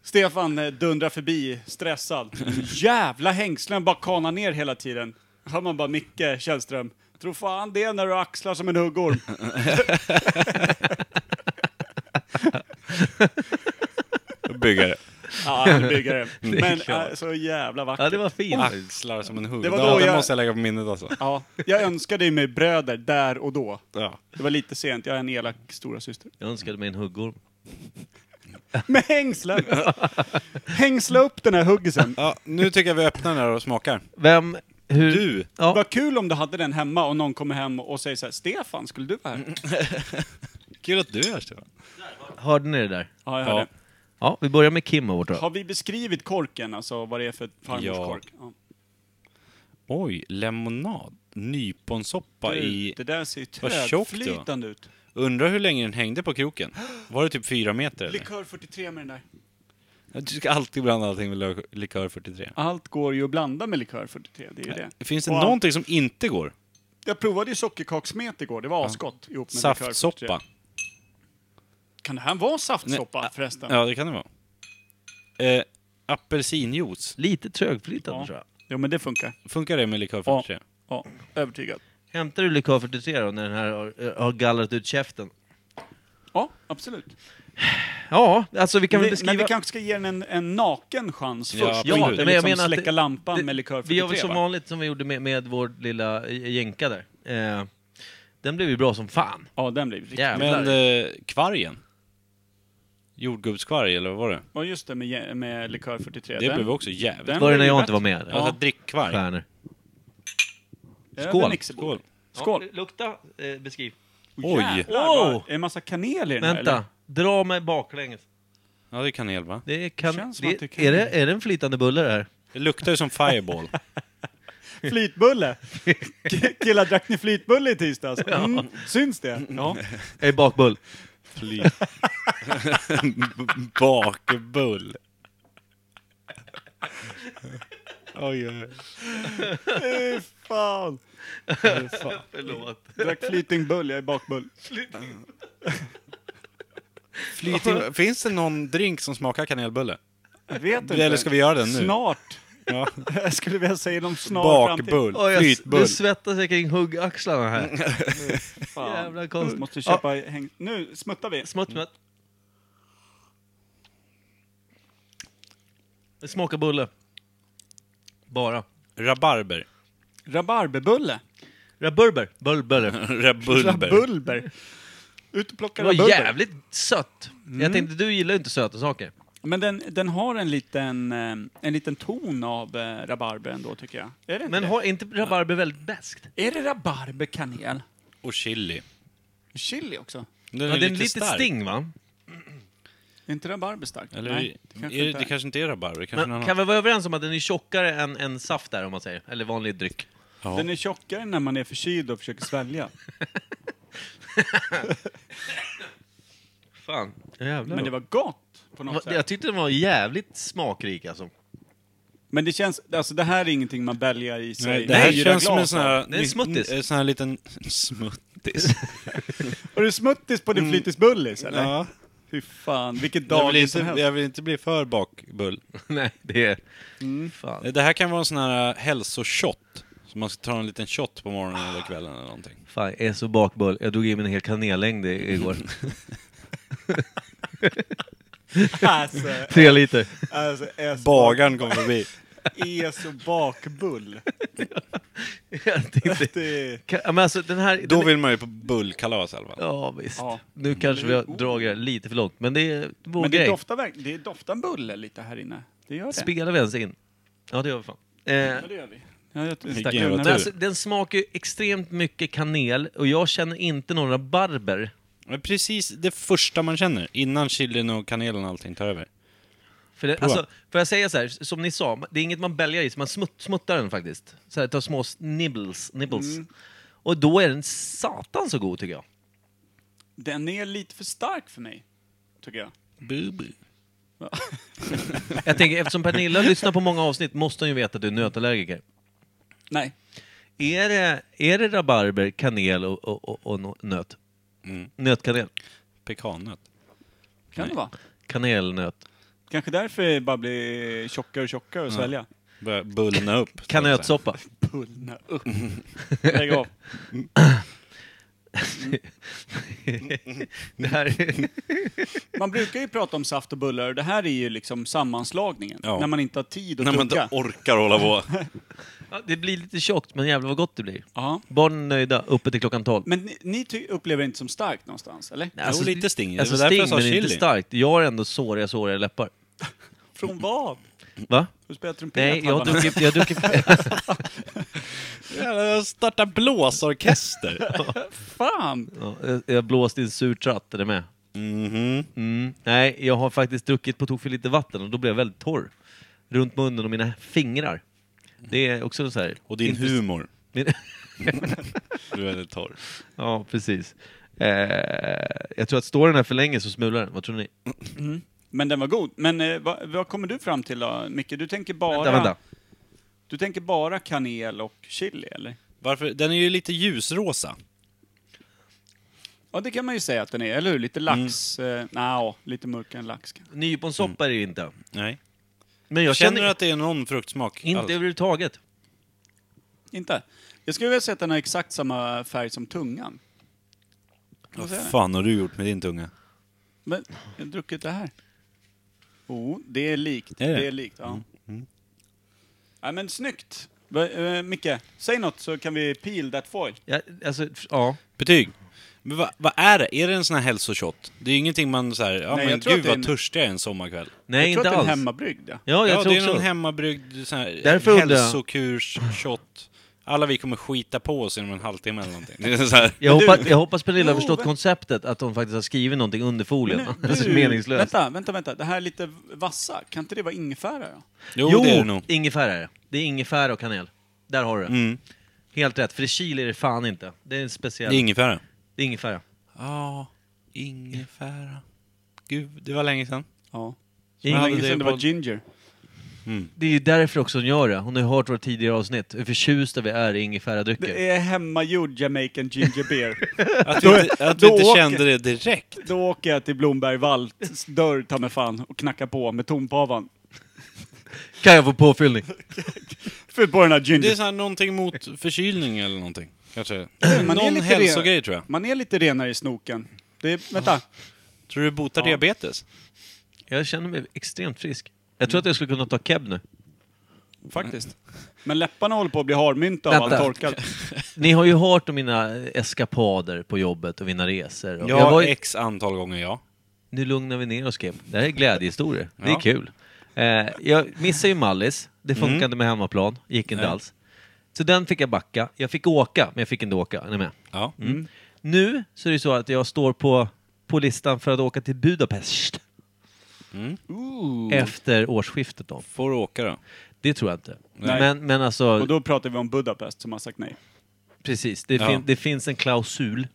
[SPEAKER 1] Stefan eh, dundrar förbi, stressad. Jävla hängslen bara kanar ner hela tiden. Hör man bara Micke Källström. Tro fan det när du axlar som en huggorm.
[SPEAKER 3] Byggare.
[SPEAKER 1] Ja, han är byggare.
[SPEAKER 2] är
[SPEAKER 1] Men
[SPEAKER 2] klart.
[SPEAKER 1] äh, så jävla vackert.
[SPEAKER 2] Ja, det var fint.
[SPEAKER 3] Axlar som en hund.
[SPEAKER 1] Det
[SPEAKER 3] Det
[SPEAKER 1] var då
[SPEAKER 3] ja, den
[SPEAKER 1] jag-
[SPEAKER 3] måste jag lägga på minnet alltså.
[SPEAKER 1] Ja, jag önskade ju mig bröder där och då.
[SPEAKER 3] Ja.
[SPEAKER 1] Det var lite sent, jag är en elak stora syster.
[SPEAKER 2] Jag önskade mig en huggorm.
[SPEAKER 1] Med hängslen! Hängsla upp den här huggisen.
[SPEAKER 3] Ja, nu tycker jag vi öppnar den här och smakar.
[SPEAKER 2] Vem, hur...
[SPEAKER 3] Du!
[SPEAKER 2] Ja.
[SPEAKER 1] Vad kul om du hade den hemma och någon kommer hem och säger så här, Stefan, skulle du vara här?
[SPEAKER 3] Kul att du är här Stefan.
[SPEAKER 2] Hörde ni det där?
[SPEAKER 1] Ja, jag hörde.
[SPEAKER 3] Ja.
[SPEAKER 2] Ja, vi börjar med Kim vårt
[SPEAKER 1] Har vi beskrivit korken, alltså vad det är för farmors
[SPEAKER 3] Ja.
[SPEAKER 1] kork? Ja.
[SPEAKER 3] Oj, lemonad. Nyponsoppa i...
[SPEAKER 1] Du, det där ser ju
[SPEAKER 3] Vad tjockt det var.
[SPEAKER 1] trögflytande ut.
[SPEAKER 3] Undrar hur länge den hängde på kroken. Var det typ fyra meter eller?
[SPEAKER 1] Likör 43 med den där.
[SPEAKER 3] Du ska alltid blanda allting med lö- likör 43.
[SPEAKER 1] Allt går ju att blanda med likör 43, det är ju det.
[SPEAKER 3] Finns det
[SPEAKER 1] Och allt-
[SPEAKER 3] någonting som inte går?
[SPEAKER 1] Jag provade ju sockerkakssmet igår, det var asgott ihop med likör.
[SPEAKER 3] Saftsoppa.
[SPEAKER 1] Kan det här vara saftsoppa förresten?
[SPEAKER 3] äh, Ja, det kan det vara. Eh, apelsinjuice.
[SPEAKER 2] Lite trögflytande
[SPEAKER 1] Ja.
[SPEAKER 2] tror jag.
[SPEAKER 1] Jo men det funkar.
[SPEAKER 3] Funkar det med likör
[SPEAKER 1] Ja.
[SPEAKER 3] 43?
[SPEAKER 1] ja, övertygad.
[SPEAKER 2] Hämtar du likör 43 då när den här har, har gallrat ut käften?
[SPEAKER 1] Ja, absolut.
[SPEAKER 2] Ja, alltså vi kan väl
[SPEAKER 1] Vi,
[SPEAKER 2] beskriva...
[SPEAKER 1] men vi kanske ska ge den en, en naken chans
[SPEAKER 3] Ja,
[SPEAKER 1] först.
[SPEAKER 3] absolut.
[SPEAKER 1] och
[SPEAKER 2] men
[SPEAKER 1] inte
[SPEAKER 2] jag
[SPEAKER 1] liksom
[SPEAKER 2] menar att
[SPEAKER 1] släcka
[SPEAKER 2] det-
[SPEAKER 1] lampan
[SPEAKER 2] det-
[SPEAKER 1] med likör 43
[SPEAKER 2] Vi gör väl som
[SPEAKER 1] va?
[SPEAKER 2] vanligt som vi gjorde med, med vår lilla eh, jänka där. Eh, den blev ju bra som fan.
[SPEAKER 1] Ja, den blir riktigt...
[SPEAKER 2] Jävlar.
[SPEAKER 3] Men eh, kvargen? Jordgubbskvarg eller vad var det?
[SPEAKER 1] Ja, just det, med, jä- med Likör 43.
[SPEAKER 3] Det
[SPEAKER 1] Den-
[SPEAKER 3] blev också jävligt
[SPEAKER 1] den
[SPEAKER 2] Var det när
[SPEAKER 1] ju
[SPEAKER 2] jag
[SPEAKER 1] bättre.
[SPEAKER 2] inte var med?
[SPEAKER 3] Ja,
[SPEAKER 1] Ja.
[SPEAKER 3] ja. Drickkvarg.
[SPEAKER 2] Stjärnor.
[SPEAKER 1] Över
[SPEAKER 2] Skål.
[SPEAKER 1] Nixebo.
[SPEAKER 3] Skål.
[SPEAKER 1] Skål!
[SPEAKER 2] lukta, eh, beskriv.
[SPEAKER 1] Åh,
[SPEAKER 3] Oj.
[SPEAKER 1] jävlar,
[SPEAKER 2] Wow.
[SPEAKER 1] vad- Är det en massa kanel i den här, eller?
[SPEAKER 2] Vänta, dra mig baklänges.
[SPEAKER 3] Ja, det är kanel va?
[SPEAKER 2] Det kan,
[SPEAKER 1] Känns som
[SPEAKER 2] det,
[SPEAKER 1] att det kan-
[SPEAKER 2] är, det, är det en flytande bulle det här?
[SPEAKER 3] Det luktar ju som Fireball.
[SPEAKER 1] Flytbulle! K- Killar, drack ni flytbulle i tisdags? Mm, syns det? Ja.
[SPEAKER 2] Jag är bakbull.
[SPEAKER 3] Fly. Bakbull. Oj, oj, oj.
[SPEAKER 1] Fy fan!
[SPEAKER 2] Förlåt.
[SPEAKER 1] Drack flytingbull, jag är bakbull.
[SPEAKER 3] Flyting... Finns det någon drink som smakar kanelbulle?
[SPEAKER 1] Jag vet inte.
[SPEAKER 3] Eller ska vi göra den nu?
[SPEAKER 1] Snart.
[SPEAKER 3] Ja.
[SPEAKER 1] Jag skulle vilja säga inom snar framtid.
[SPEAKER 3] Bakbull.
[SPEAKER 2] Oj, jag,
[SPEAKER 3] Flytbull.
[SPEAKER 2] du svettas jag kring huggaxlarna här.
[SPEAKER 1] Fan.
[SPEAKER 2] Jävla konst.
[SPEAKER 1] Måste köpa häng... Nu smuttar vi.
[SPEAKER 2] Smått
[SPEAKER 3] Mm.
[SPEAKER 2] med. Det smakar bulle. Bara.
[SPEAKER 3] Rabarber.
[SPEAKER 1] Rabarberbulle.
[SPEAKER 2] Raburber. Bulbulle.
[SPEAKER 3] Rabulber.
[SPEAKER 1] Rabulber. Ut och
[SPEAKER 2] Det
[SPEAKER 1] plocka
[SPEAKER 2] var
[SPEAKER 1] rabulber.
[SPEAKER 2] jävligt sött.
[SPEAKER 3] Mm.
[SPEAKER 2] Jag tänkte, du gillar ju inte söta saker.
[SPEAKER 1] Men den, den har en liten, eh, en liten ton av eh, rabarber ändå, tycker jag. Är det inte
[SPEAKER 2] Men
[SPEAKER 1] det?
[SPEAKER 2] har inte rabarber väldigt beskt?
[SPEAKER 1] Är det rabarber, kanel?
[SPEAKER 3] Och chili.
[SPEAKER 1] Chili också?
[SPEAKER 3] Den
[SPEAKER 2] Ja,
[SPEAKER 3] är,
[SPEAKER 2] det är
[SPEAKER 3] lite,
[SPEAKER 2] en litet
[SPEAKER 3] stark.
[SPEAKER 2] sting va?
[SPEAKER 1] Är inte rabarber starkt?
[SPEAKER 3] Eller,
[SPEAKER 1] Nej,
[SPEAKER 3] det, kanske är, det, det
[SPEAKER 1] är.
[SPEAKER 3] kanske inte är rabarber. det Kanske är
[SPEAKER 2] Men
[SPEAKER 3] någon
[SPEAKER 2] kan vi vara överens om att den är tjockare än, än saft där om man säger? Eller vanlig dryck.
[SPEAKER 3] annan.
[SPEAKER 1] Den är tjockare när man är förkyld och försöker svälja.
[SPEAKER 2] Fan. Jävlar.
[SPEAKER 1] Men det var gott på något
[SPEAKER 2] jag
[SPEAKER 1] sätt.
[SPEAKER 2] tyckte den var jävligt smakrik alltså.
[SPEAKER 1] Men det känns, alltså det här är ingenting man bälgar i sig.
[SPEAKER 3] Nej, det här
[SPEAKER 1] Fyra
[SPEAKER 3] känns som en
[SPEAKER 1] glas
[SPEAKER 3] sån
[SPEAKER 1] av.
[SPEAKER 3] här...
[SPEAKER 2] Det är en smuttis.
[SPEAKER 3] En sån här liten... Smuttis.
[SPEAKER 1] Har du smuttis på din flytisbullis eller?
[SPEAKER 3] Mm. ja.
[SPEAKER 1] Fy fan, vilket
[SPEAKER 3] jag, vill
[SPEAKER 1] dag
[SPEAKER 3] inte,
[SPEAKER 1] som helst.
[SPEAKER 3] jag vill inte bli för bakbull.
[SPEAKER 2] Nej, det är...
[SPEAKER 1] Mm.
[SPEAKER 2] Fan.
[SPEAKER 3] Eh, Det här kan vara en sån här eh, hälsoshot. Så man ska ta en liten shot på morgonen eller kvällen eller någonting.
[SPEAKER 2] Fan, jag är så bakbull. Jag drog i mig en hel kanellängd i- igår.
[SPEAKER 1] Alltså,
[SPEAKER 2] Tre liter.
[SPEAKER 1] alltså är så,
[SPEAKER 3] Bagaren kom förbi.
[SPEAKER 1] är så bakbull.
[SPEAKER 2] Jag tänkte...
[SPEAKER 1] Det,
[SPEAKER 2] Kan- ja, Men alltså den här...
[SPEAKER 3] Då
[SPEAKER 2] den...
[SPEAKER 3] vill man ju på bullkalas i alla fall.
[SPEAKER 2] Ja, visst.
[SPEAKER 1] Ja.
[SPEAKER 2] Nu kanske vi har
[SPEAKER 1] Oh.
[SPEAKER 2] dragit det lite för långt, men det är vår
[SPEAKER 1] men det
[SPEAKER 2] grej.
[SPEAKER 1] doftar, verk- det doftar bulle lite här inne. Det gör det.
[SPEAKER 2] Spelar vi ens in? Ja, det gör vi fan.
[SPEAKER 1] Ja,
[SPEAKER 2] Eh,
[SPEAKER 1] det gör vi. Ja, jag
[SPEAKER 3] Vilken
[SPEAKER 1] stack
[SPEAKER 3] jävla
[SPEAKER 1] undan.
[SPEAKER 2] men
[SPEAKER 3] tur.
[SPEAKER 2] alltså, den smakar ju extremt mycket kanel och jag känner inte några barber.
[SPEAKER 3] Men precis det första man känner, innan chilin och kanelen och allting tar över.
[SPEAKER 2] För det,
[SPEAKER 3] Prova.
[SPEAKER 2] alltså, får jag säga så här, som ni sa, det är inget man bälgar i, så man smutt, smuttar den faktiskt. Så här, tar små nibbles. nibbles.
[SPEAKER 3] Mm.
[SPEAKER 2] Och då är den satan så god tycker jag.
[SPEAKER 1] Den är lite för stark för mig, tycker jag.
[SPEAKER 3] Bubu.
[SPEAKER 2] Jag tänker, eftersom Pernilla lyssnar på många avsnitt måste hon ju veta att du är nötallergiker.
[SPEAKER 1] Nej.
[SPEAKER 2] Är det, är det rabarber, kanel och, och, och, och nå- nöt?
[SPEAKER 3] Mm.
[SPEAKER 2] Nötkanel?
[SPEAKER 3] Pekannöt.
[SPEAKER 1] Kan det vara?
[SPEAKER 2] Kanelnöt?
[SPEAKER 1] Kanske därför jag bara blir tjockare och tjockare och svälja.
[SPEAKER 3] Börjar bullna upp. så att säga.
[SPEAKER 2] Kanötsoppa?
[SPEAKER 1] Pullna upp. Lägg av.
[SPEAKER 2] det här är...
[SPEAKER 1] Man brukar ju prata om saft och bullar och det här är ju liksom sammanslagningen.
[SPEAKER 3] Ja.
[SPEAKER 1] När man inte har tid att
[SPEAKER 3] När man
[SPEAKER 1] tugga.
[SPEAKER 3] inte orkar hålla på.
[SPEAKER 2] Ja, det blir lite tjockt, men jävlar vad gott det blir.
[SPEAKER 1] Ja.
[SPEAKER 2] Barnen är nöjda, uppe till klockan 12.
[SPEAKER 1] Men ni, ni ty- upplever det inte som starkt någonstans, eller?
[SPEAKER 2] Nej,
[SPEAKER 3] Jo, lite sting. Det var
[SPEAKER 2] Alltså
[SPEAKER 3] därför
[SPEAKER 2] sting,
[SPEAKER 3] jag sa
[SPEAKER 2] men inte
[SPEAKER 3] chili.
[SPEAKER 2] starkt. Jag har ändå såriga, såriga läppar.
[SPEAKER 1] Från vad?
[SPEAKER 2] Va?
[SPEAKER 1] Du spelar trumpet?
[SPEAKER 2] Nej, jag har
[SPEAKER 1] Habban.
[SPEAKER 2] druckit... Jag har druckit
[SPEAKER 3] Jag startar blåsorkester.
[SPEAKER 1] Fan!
[SPEAKER 2] ja, jag- jag blåste i en sur tratt, är det med?
[SPEAKER 3] Mhm.
[SPEAKER 2] Mm. Nej, jag har faktiskt druckit på tok för lite vatten och då blev jag väldigt torr. Runt munnen och mina fingrar. Det är också så här...
[SPEAKER 3] Och din
[SPEAKER 2] inte-
[SPEAKER 3] humor.
[SPEAKER 2] Min...
[SPEAKER 3] Du är väldigt torr.
[SPEAKER 2] ja, precis. Eh, jag tror att står den här för länge så smular den. Vad tror ni?
[SPEAKER 1] Men den var god. Men eh, vad, vad kommer du fram till då, Micke? Du tänker bara...
[SPEAKER 2] Vänta, vänta.
[SPEAKER 1] Du tänker bara kanel och chili, eller?
[SPEAKER 3] Varför? Den är ju lite ljusrosa.
[SPEAKER 1] Ja, det kan man ju säga att den är, eller hur? Lite lax... Mm. Eh, nja, lite mörkare än lax kanske.
[SPEAKER 2] Nyponsoppa är det ju inte.
[SPEAKER 3] Nej.
[SPEAKER 2] Men jag
[SPEAKER 3] Jag känner
[SPEAKER 2] känner,
[SPEAKER 3] du att det är någon fruktsmak?
[SPEAKER 2] inte
[SPEAKER 3] alls?
[SPEAKER 2] överhuvudtaget.
[SPEAKER 1] Inte? Jag skulle vilja säga att den har exakt samma färg som tungan. Vad säger
[SPEAKER 3] Vad
[SPEAKER 1] du?
[SPEAKER 3] fan har du gjort med din tunga?
[SPEAKER 1] Men, jag har druckit det här. Jo, det är likt.
[SPEAKER 3] Är det?
[SPEAKER 1] Det är likt, ja. Nej, men snyggt! Va, eh, Micke, säg något så kan vi peel that foil.
[SPEAKER 2] Ja, alltså, f- ja.
[SPEAKER 3] Betyg. Men vad vad är det? Är det en sån här hälsoshot? Det är ju ingenting man så här, ja
[SPEAKER 1] Nej, jag
[SPEAKER 3] men
[SPEAKER 1] tror att
[SPEAKER 3] gud
[SPEAKER 1] det är
[SPEAKER 3] vad
[SPEAKER 1] en-
[SPEAKER 3] törstig jag är en sommarkväll.
[SPEAKER 1] jag
[SPEAKER 2] Nej,
[SPEAKER 1] tror
[SPEAKER 2] inte
[SPEAKER 1] att det är
[SPEAKER 2] alls.
[SPEAKER 1] en hemmabryggd. Ja.
[SPEAKER 2] Ja, jag
[SPEAKER 3] ja,
[SPEAKER 2] tror
[SPEAKER 3] det är
[SPEAKER 2] också.
[SPEAKER 3] någon hemmabryggd sån här
[SPEAKER 2] Därför undrar jag.
[SPEAKER 3] hälsokurs-shot. Alla vi kommer skita på oss inom en halvtimme eller någonting. Det är så här.
[SPEAKER 2] Jag,
[SPEAKER 1] Men du-
[SPEAKER 2] hoppas, jag hoppas Pernilla
[SPEAKER 1] Jo,
[SPEAKER 2] har förstått
[SPEAKER 1] men-
[SPEAKER 2] konceptet, att de faktiskt har skrivit någonting under folien.
[SPEAKER 1] Men nu-
[SPEAKER 2] alltså
[SPEAKER 1] du-
[SPEAKER 2] meningslöst.
[SPEAKER 1] Vänta, vänta, vänta. Det här är lite vassa, kan inte det vara ingefära? då?
[SPEAKER 3] Jo, det är det nog.
[SPEAKER 2] ingefära är det. Det är ingefära och kanel. Där har du det.
[SPEAKER 3] Mm.
[SPEAKER 2] Helt rätt, för i Chile är det fan inte. Det är en speciell...
[SPEAKER 3] Det är ingefära.
[SPEAKER 2] det är ingefära.
[SPEAKER 3] Ja, ingefära. Gud, det var länge sedan.
[SPEAKER 1] Ja.
[SPEAKER 2] Det
[SPEAKER 1] Det
[SPEAKER 2] är
[SPEAKER 1] var
[SPEAKER 2] ingen-
[SPEAKER 1] länge sedan det var ginger.
[SPEAKER 2] Det är ju därför också hon gör det. Hon har ju hört våra tidigare avsnitt, hur förtjusta vi är i ingefäradrycker.
[SPEAKER 1] Det är hemmagjord Jamaican ginger beer.
[SPEAKER 3] Att vi inte, att vi
[SPEAKER 1] då
[SPEAKER 3] inte
[SPEAKER 1] åker-
[SPEAKER 3] kände det direkt.
[SPEAKER 1] Då åker jag till Blomberg Valts dörr, ta mig fan, och knackar på med tompavan.
[SPEAKER 2] Kan jag få påfyllning?
[SPEAKER 1] Fyll på den här ginger.
[SPEAKER 3] Det är så här någonting mot förkylning eller någonting. Kanske.
[SPEAKER 1] Man är
[SPEAKER 3] Någon
[SPEAKER 1] lite
[SPEAKER 3] hälsogrej
[SPEAKER 1] ren-
[SPEAKER 3] tror jag.
[SPEAKER 1] Man är lite renare i snoken. Det är, vänta.
[SPEAKER 3] Tror du det botar diabetes?
[SPEAKER 2] Jag känner mig extremt frisk. Jag tror att jag skulle kunna ta keb nu.
[SPEAKER 1] Faktiskt. Men läpparna håller på att bli harmynta av
[SPEAKER 2] Vänta.
[SPEAKER 1] allt torkat.
[SPEAKER 2] Ni har ju hört om mina eskapader på jobbet och mina resor. Och jag
[SPEAKER 3] Ja,
[SPEAKER 2] var ju-
[SPEAKER 3] x antal gånger ja.
[SPEAKER 2] Nu lugnar vi ner oss, Kim. Det här är glädjehistorier. Det är
[SPEAKER 3] Ja. Mm.
[SPEAKER 2] kul. Eh, jag missade ju Mallis. Det funkade inte med hemmaplan. Gick inte
[SPEAKER 3] Nej.
[SPEAKER 2] alls. Så den fick jag backa. Jag fick åka, men jag fick inte åka. Är ni med?
[SPEAKER 3] ja. Mm.
[SPEAKER 2] Nu så är det ju så att jag står på, på listan för att åka till Budapest
[SPEAKER 3] Mm.
[SPEAKER 2] efter årsskiftet. Då.
[SPEAKER 3] Får du åka då.
[SPEAKER 2] Det tror jag inte.
[SPEAKER 1] Nej.
[SPEAKER 2] Men, men alltså,
[SPEAKER 1] Och då pratar vi om Budapest som har sagt nej.
[SPEAKER 2] precis. Det,
[SPEAKER 3] Ja.
[SPEAKER 2] fin, det finns en klausul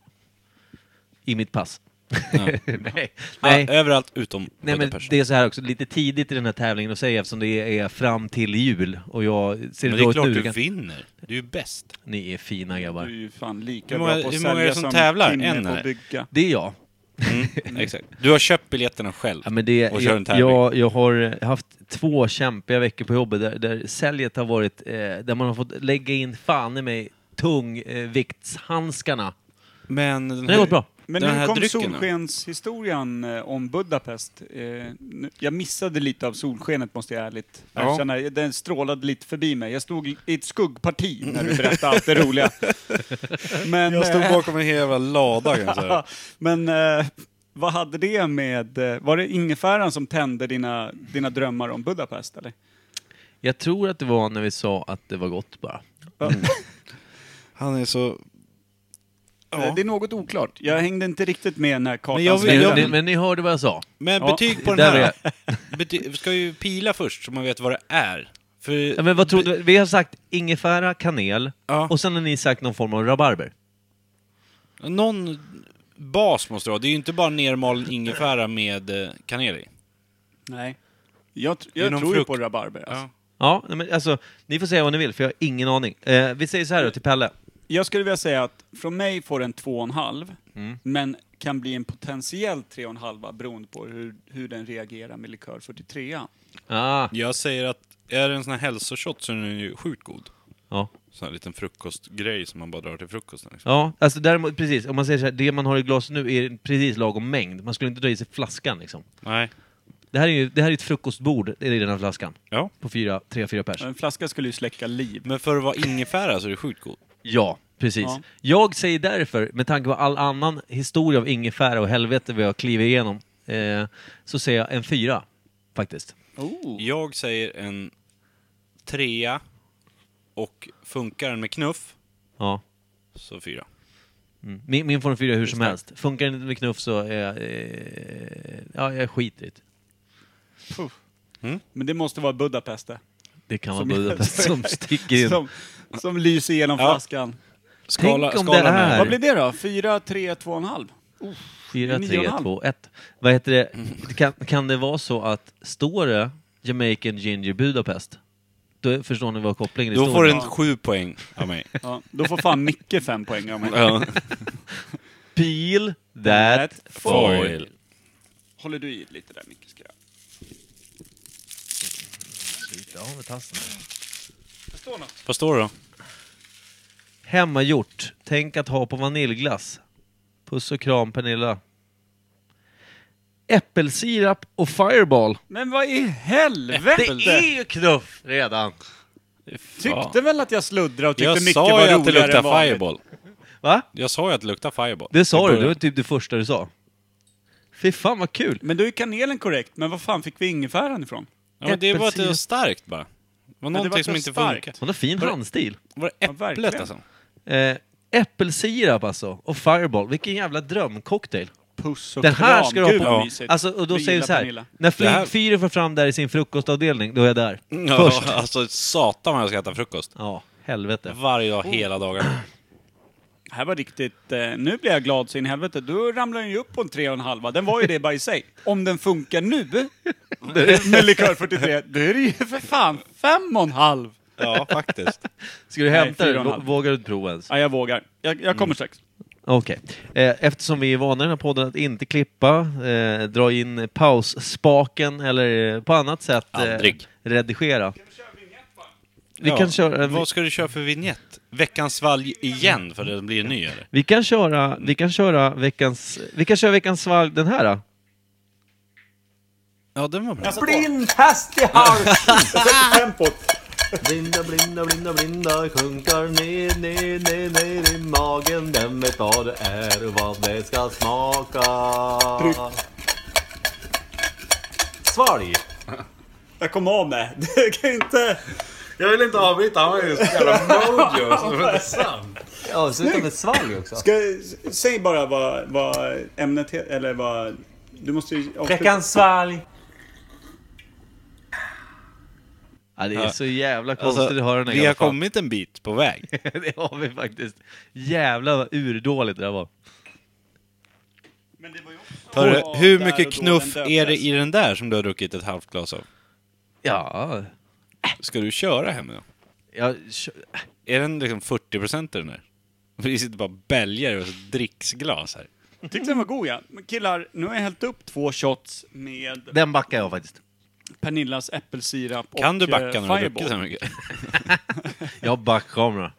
[SPEAKER 2] i mitt pass. Nej. Nej.
[SPEAKER 3] Ja, överallt utom
[SPEAKER 2] Nej men
[SPEAKER 3] eh, Budapest.
[SPEAKER 2] det är så här också, lite tidigt i den här tävlingen att säga eftersom det är fram till jul och jag ser
[SPEAKER 3] Men
[SPEAKER 2] det
[SPEAKER 3] det
[SPEAKER 2] dåligt
[SPEAKER 3] är klart
[SPEAKER 2] nu.
[SPEAKER 3] du
[SPEAKER 2] kan-
[SPEAKER 3] vinner. Du är ju bäst.
[SPEAKER 2] Ni är fina
[SPEAKER 1] Du är
[SPEAKER 2] grabbar.
[SPEAKER 1] ju fan lika
[SPEAKER 3] Hur många-
[SPEAKER 1] bra på att
[SPEAKER 3] hur många är det
[SPEAKER 1] sälja
[SPEAKER 3] som
[SPEAKER 1] som
[SPEAKER 3] tävlar?
[SPEAKER 1] Kim är
[SPEAKER 3] En,
[SPEAKER 1] på att
[SPEAKER 3] eller?
[SPEAKER 1] bygga.
[SPEAKER 2] Det är jag.
[SPEAKER 3] Mm. Exakt. Du har köpt biljetterna själv.
[SPEAKER 2] Ja, men det,
[SPEAKER 3] Och kör en
[SPEAKER 2] jag,
[SPEAKER 3] tävling.
[SPEAKER 2] jag, jag har haft två kämpiga veckor på jobbet där, där säljet har varit, eh, där man har fått lägga in fan i mig eh, tungviktshandskarna.
[SPEAKER 3] Men den
[SPEAKER 2] det har gått bra.
[SPEAKER 1] Men
[SPEAKER 3] den
[SPEAKER 1] nu
[SPEAKER 3] här
[SPEAKER 1] kom
[SPEAKER 3] drycken då?
[SPEAKER 1] solskenshistorien eh, om Budapest. Eh, nu- Jag missade lite av solskenet måste jag ärligt
[SPEAKER 3] Ja.
[SPEAKER 1] erkänna. Den strålade lite förbi mig. Jag stod i ett skuggparti när du berättade allt det roliga. Men,
[SPEAKER 3] Jag stod
[SPEAKER 1] eh,
[SPEAKER 3] bakom en hel jävla lada kan jag säga.
[SPEAKER 1] Men eh, vad hade det med... eh, Var det ingefäran som tände dina, dina drömmar om Budapest eller?
[SPEAKER 2] Jag tror att det var när vi sa att det var gott bara.
[SPEAKER 3] Mm. Han är så...
[SPEAKER 1] Eh, Det är något oklart. Jag hängde inte riktigt med när kartan
[SPEAKER 3] Men jag vill-
[SPEAKER 2] Men,
[SPEAKER 1] slängde.
[SPEAKER 3] jag-
[SPEAKER 2] ni, men ni hörde vad jag sa.
[SPEAKER 3] Men
[SPEAKER 1] Ja,
[SPEAKER 3] betyg på
[SPEAKER 2] där
[SPEAKER 3] den här. Bety- vi ska ju pila först så man vet vad det är. För...
[SPEAKER 2] Ja, men vad tror du? Vi har sagt ingefära, kanel
[SPEAKER 3] Ja.
[SPEAKER 2] och sen har ni sagt någon form av rabarber.
[SPEAKER 3] Någon bas måste du ha. Det är ju inte bara nermalen ingefära med eh, kanel i.
[SPEAKER 1] Nej. Jag, tr-
[SPEAKER 3] Det är
[SPEAKER 1] jag
[SPEAKER 3] någon
[SPEAKER 1] tror ju
[SPEAKER 3] frukt.
[SPEAKER 1] på rabarber. Alltså.
[SPEAKER 2] Ja, nej, men alltså, ni får säga vad ni vill, för jag har ingen aning. Eh, vi säger så här då till Pelle.
[SPEAKER 1] Jag skulle vilja säga att från mig får den 2,5,
[SPEAKER 3] Mm.
[SPEAKER 1] men kan bli en potentiell 3,5 beroende på hur, hur den reagerar med likör 43.
[SPEAKER 2] Ah,
[SPEAKER 3] Jag säger att är det en sån här hälsoshot så är den ju sjukt god.
[SPEAKER 2] ja.
[SPEAKER 3] Sån här liten frukostgrej som man bara drar till frukosten. Liksom.
[SPEAKER 2] ja, alltså däremot, precis, om man säger så här, det man har i glaset nu är precis lagom mängd. Man skulle inte dra i sig flaskan liksom.
[SPEAKER 3] Nej.
[SPEAKER 2] Det här är ju det här är ett frukostbord, det är i den här flaskan.
[SPEAKER 3] Ja.
[SPEAKER 2] På fyra, tre, fyra pers.
[SPEAKER 1] En flaska skulle ju släcka liv.
[SPEAKER 3] Men för att vara ingefära så är det sjukt god.
[SPEAKER 2] Ja, precis.
[SPEAKER 1] Ja.
[SPEAKER 2] Jag säger därför, med tanke på all annan historia av ingefära och helvete vi har klivit igenom, eh, så säger jag en fyra, faktiskt.
[SPEAKER 1] Oh.
[SPEAKER 3] Jag säger en trea och funkar den med knuff
[SPEAKER 2] Ja.
[SPEAKER 3] så fyra.
[SPEAKER 2] Mm. Min, min får en fyra hur som helst. Funkar det inte med knuff så är jag... Eh, ja, jag skiter i det.
[SPEAKER 3] Mm.
[SPEAKER 1] Men det måste vara Budapest det.
[SPEAKER 2] Det kan vara
[SPEAKER 1] Som-
[SPEAKER 2] Budapest som sticker in.
[SPEAKER 1] Som, som lyser genom
[SPEAKER 3] Ja.
[SPEAKER 1] flaskan.
[SPEAKER 3] Skala,
[SPEAKER 2] Tänk om
[SPEAKER 3] skala
[SPEAKER 2] det
[SPEAKER 3] med.
[SPEAKER 2] är-
[SPEAKER 1] Vad blir det då? 4, 3, 2,5?
[SPEAKER 2] Fyra,
[SPEAKER 1] nio
[SPEAKER 2] tre,
[SPEAKER 1] och en halv.
[SPEAKER 2] två, ett. Vad heter det? Kan, kan det vara så att står det Jamaican Ginger Budapest, då förstår ni vad kopplingen är.
[SPEAKER 3] Då
[SPEAKER 2] stor.
[SPEAKER 3] får den sju poäng av mig.
[SPEAKER 1] Ja, då får fan Micke fem poäng av mig.
[SPEAKER 3] Ja.
[SPEAKER 2] Peel that foil.
[SPEAKER 3] Foil.
[SPEAKER 1] Håller du i lite där Micke? Ska jag. Det står något.
[SPEAKER 3] Vad står det då?
[SPEAKER 2] Hemmagjort. Tänk att ha på vaniljglass. Puss och kram Pernilla. Äppelsirap och Fireball.
[SPEAKER 1] Men vad i helvete!
[SPEAKER 2] Det är ju knuff redan!
[SPEAKER 1] Tyckte väl att jag sluddrade och tyckte
[SPEAKER 3] Jag
[SPEAKER 1] Micke
[SPEAKER 3] sa
[SPEAKER 1] var
[SPEAKER 3] ju att det
[SPEAKER 1] roligare
[SPEAKER 3] luktar
[SPEAKER 1] än vanligt.
[SPEAKER 3] fireball.
[SPEAKER 2] Va?
[SPEAKER 3] Jag sa ju att det luktar Fireball.
[SPEAKER 2] Det sa
[SPEAKER 3] I
[SPEAKER 2] du, det var
[SPEAKER 3] början.
[SPEAKER 2] typ det första du sa. Fy fan vad kul!
[SPEAKER 1] Men då är kanelen korrekt, men vad fan fick vi ingefäran ifrån?
[SPEAKER 3] Ja, men det var att det var
[SPEAKER 2] Äppelcider.
[SPEAKER 3] starkt bara. Det var
[SPEAKER 1] det
[SPEAKER 3] någonting
[SPEAKER 1] var
[SPEAKER 3] som
[SPEAKER 1] så
[SPEAKER 3] inte
[SPEAKER 1] starkt.
[SPEAKER 3] funkar.
[SPEAKER 2] Hon har fin handstil.
[SPEAKER 3] Var det
[SPEAKER 1] Ja,
[SPEAKER 3] äpplet
[SPEAKER 1] verkligen.
[SPEAKER 3] alltså?
[SPEAKER 2] Eh, äppelsirap alltså, och Fireball. Vilken jävla drömcocktail.
[SPEAKER 1] Puss och
[SPEAKER 2] Den här
[SPEAKER 1] kram,
[SPEAKER 2] ska du ha
[SPEAKER 1] gud
[SPEAKER 2] på.
[SPEAKER 1] vad
[SPEAKER 3] Ja.
[SPEAKER 1] mysigt.
[SPEAKER 2] Alltså, och då
[SPEAKER 1] Vi
[SPEAKER 2] säger vi
[SPEAKER 1] gillar
[SPEAKER 2] så här.
[SPEAKER 1] Pernilla.
[SPEAKER 2] När
[SPEAKER 3] Det här-
[SPEAKER 2] flygfyren får fram där i sin frukostavdelning, då är jag där.
[SPEAKER 1] Mm.
[SPEAKER 3] Ja,
[SPEAKER 2] Först.
[SPEAKER 3] alltså satan vad jag ska äta frukost.
[SPEAKER 2] Ja, helvete.
[SPEAKER 3] Varje dag, hela dagen.
[SPEAKER 1] Det här var riktigt... Eh, nu blir jag glad så in i helvete. Då ramlar den ju upp på en tre och en halva. Den var ju det bara i sig. Om den funkar nu med likör 43, då är det ju för fan fem och en halv.
[SPEAKER 3] Ja, faktiskt.
[SPEAKER 2] Ska du
[SPEAKER 1] Nej,
[SPEAKER 2] hämta
[SPEAKER 1] fyra
[SPEAKER 2] den?
[SPEAKER 1] och en halv.
[SPEAKER 2] Vå- Vågar du inte prova ens?
[SPEAKER 1] Ja, jag vågar. Jag, jag kommer
[SPEAKER 2] Mm.
[SPEAKER 1] strax.
[SPEAKER 2] Okej. Eh, Eftersom vi är vana i den här podden att inte klippa, eh, dra in pausspaken eller eh, på annat sätt eh,
[SPEAKER 3] Aldrig.
[SPEAKER 2] redigera. Vi
[SPEAKER 3] Ja.
[SPEAKER 2] kan köra... Vi,
[SPEAKER 3] Vad ska du köra för vignett? Veckans svalg igen, för den blir ny eller?
[SPEAKER 2] vi kan köra, vi kan köra veckans... Vi kan köra veckans svalg den här då.
[SPEAKER 3] Ja, den var bra.
[SPEAKER 6] Blind häst i halsen! Jag sätter tempot. Blinda, blinda, blinda, blinda sjunkar ner, ner, ner, ner i magen. Vem vet vad det är och vad det ska smaka? Svalg!
[SPEAKER 1] Jag kommer av med. Du kan inte...
[SPEAKER 6] Jag vill inte avbryta, han var ju så jävla mojo så det var inte sant. Ja, sluta med svalg också.
[SPEAKER 1] säg bara vad, vad ämnet heter, eller vad... Du måste ju...
[SPEAKER 6] Veckans svalg!
[SPEAKER 2] Ja, det är så jävla konstigt
[SPEAKER 3] Alltså,
[SPEAKER 2] att höra den här
[SPEAKER 3] vi har
[SPEAKER 2] jävla fan.
[SPEAKER 3] kommit en bit på väg.
[SPEAKER 2] det har vi faktiskt. Jävla vad urdåligt det där var.
[SPEAKER 3] Hörru, hur mycket knuff är det i den där som du har druckit ett halvt glas av?
[SPEAKER 2] Ja,
[SPEAKER 3] Ska du köra hem då?
[SPEAKER 2] jag, kö-
[SPEAKER 3] Är den liksom 40% i den där? Vi sitter bara och bälgar i ett dricksglas här.
[SPEAKER 1] Tyckte den var god ja. Men killar, nu har jag hällt upp två shots med
[SPEAKER 2] den backar jag faktiskt.
[SPEAKER 1] Pernillas äppelsirap och
[SPEAKER 3] Kan du
[SPEAKER 1] eh,
[SPEAKER 3] backa när du har
[SPEAKER 1] Fireball.
[SPEAKER 3] druckit så här mycket?
[SPEAKER 2] Jag backar kamera.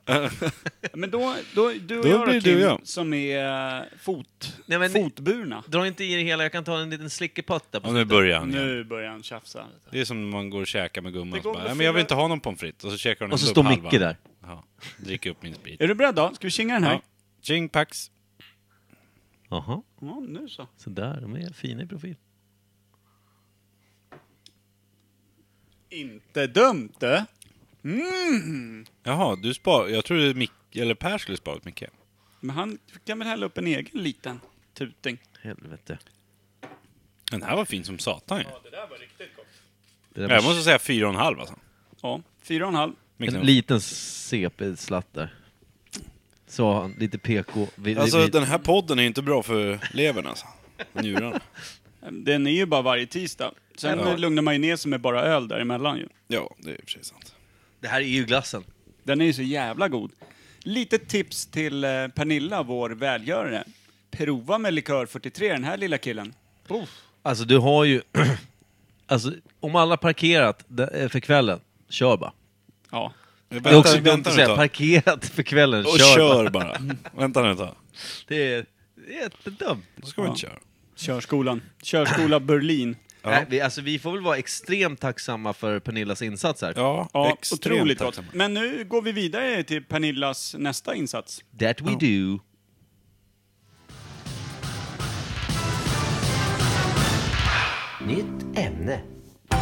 [SPEAKER 1] Men då, då, du och
[SPEAKER 3] Då
[SPEAKER 1] jag då,
[SPEAKER 3] blir du
[SPEAKER 1] Kim,
[SPEAKER 3] och jag.
[SPEAKER 1] som är eh, fot,
[SPEAKER 2] Nej, men-
[SPEAKER 1] fotburna.
[SPEAKER 2] Dra inte i det hela, jag kan ta en liten slickeputt där på
[SPEAKER 3] Och nu börjar han igen.
[SPEAKER 1] Nu börjar han tjafsa.
[SPEAKER 3] Det är som när man går och käkar med gumman
[SPEAKER 1] Det
[SPEAKER 3] och så
[SPEAKER 1] går
[SPEAKER 3] bara,
[SPEAKER 1] väl
[SPEAKER 3] "Nej, men jag vill
[SPEAKER 1] fyra-
[SPEAKER 3] inte ha någon pommes frites. Och så käkar hon
[SPEAKER 2] Och så
[SPEAKER 3] upp
[SPEAKER 2] står
[SPEAKER 3] halva.
[SPEAKER 2] Micke där.
[SPEAKER 3] Ja, dricker upp min sprit.
[SPEAKER 1] Är du beredd då? Ska vi tjinga den här?
[SPEAKER 3] Ja. Ching pax.
[SPEAKER 2] Jaha,
[SPEAKER 1] Ja, nu så.
[SPEAKER 2] sådär, de är fina i profil.
[SPEAKER 1] Inte dumt du.
[SPEAKER 3] Jaha, du spar... Jag trodde Mick... Eller Per skulle spara åt Micke.
[SPEAKER 1] Men han kan väl hälla upp en egen liten tuting.
[SPEAKER 2] Helvete.
[SPEAKER 3] Den här var fin som satan ju.
[SPEAKER 1] det där var riktigt gott.
[SPEAKER 2] Det där
[SPEAKER 3] Jag
[SPEAKER 2] var-
[SPEAKER 3] måste säga fyra och en halv alltså.
[SPEAKER 1] Ja, fyra och en halv.
[SPEAKER 3] Micke.
[SPEAKER 2] En liten CP-slatt där. Sa han, lite PK. Vi,
[SPEAKER 3] Alltså
[SPEAKER 2] vi,
[SPEAKER 3] den här podden är inte bra för levern alltså. Njurarna.
[SPEAKER 1] Den är ju bara varje tisdag. Sen
[SPEAKER 3] Ja.
[SPEAKER 1] lugnar man ju ner sig med bara öl däremellan ju.
[SPEAKER 3] Ja, det är i och för sig sant.
[SPEAKER 2] Det här är ju glassen.
[SPEAKER 1] Den är ju så jävla god. Lite tips till eh, Pernilla, vår välgörare. Prova med likör 43, den här lilla killen.
[SPEAKER 2] Alltså du har ju... alltså om alla parkerat de- för kvällen, kör bara.
[SPEAKER 1] Ja.
[SPEAKER 2] Det är också dumt att säga parkerat för kvällen,
[SPEAKER 3] Och
[SPEAKER 2] kör,
[SPEAKER 3] kör,
[SPEAKER 2] bara.
[SPEAKER 3] bara. Vänta nu ett tag.
[SPEAKER 2] Det är jättedumt.
[SPEAKER 3] Då ska man inte köra.
[SPEAKER 1] Körskolan. Körskola Berlin.
[SPEAKER 2] Nej, vi, alltså, vi får väl vara extremt tacksamma för Pernillas insats här.
[SPEAKER 3] Ja,
[SPEAKER 1] Ja,
[SPEAKER 3] extremt
[SPEAKER 1] otroligt gott.
[SPEAKER 3] tacksam.
[SPEAKER 1] Men nu går vi vidare till Pernillas nästa insats.
[SPEAKER 2] That
[SPEAKER 7] Oh.
[SPEAKER 2] we do.
[SPEAKER 7] Nytt ämne.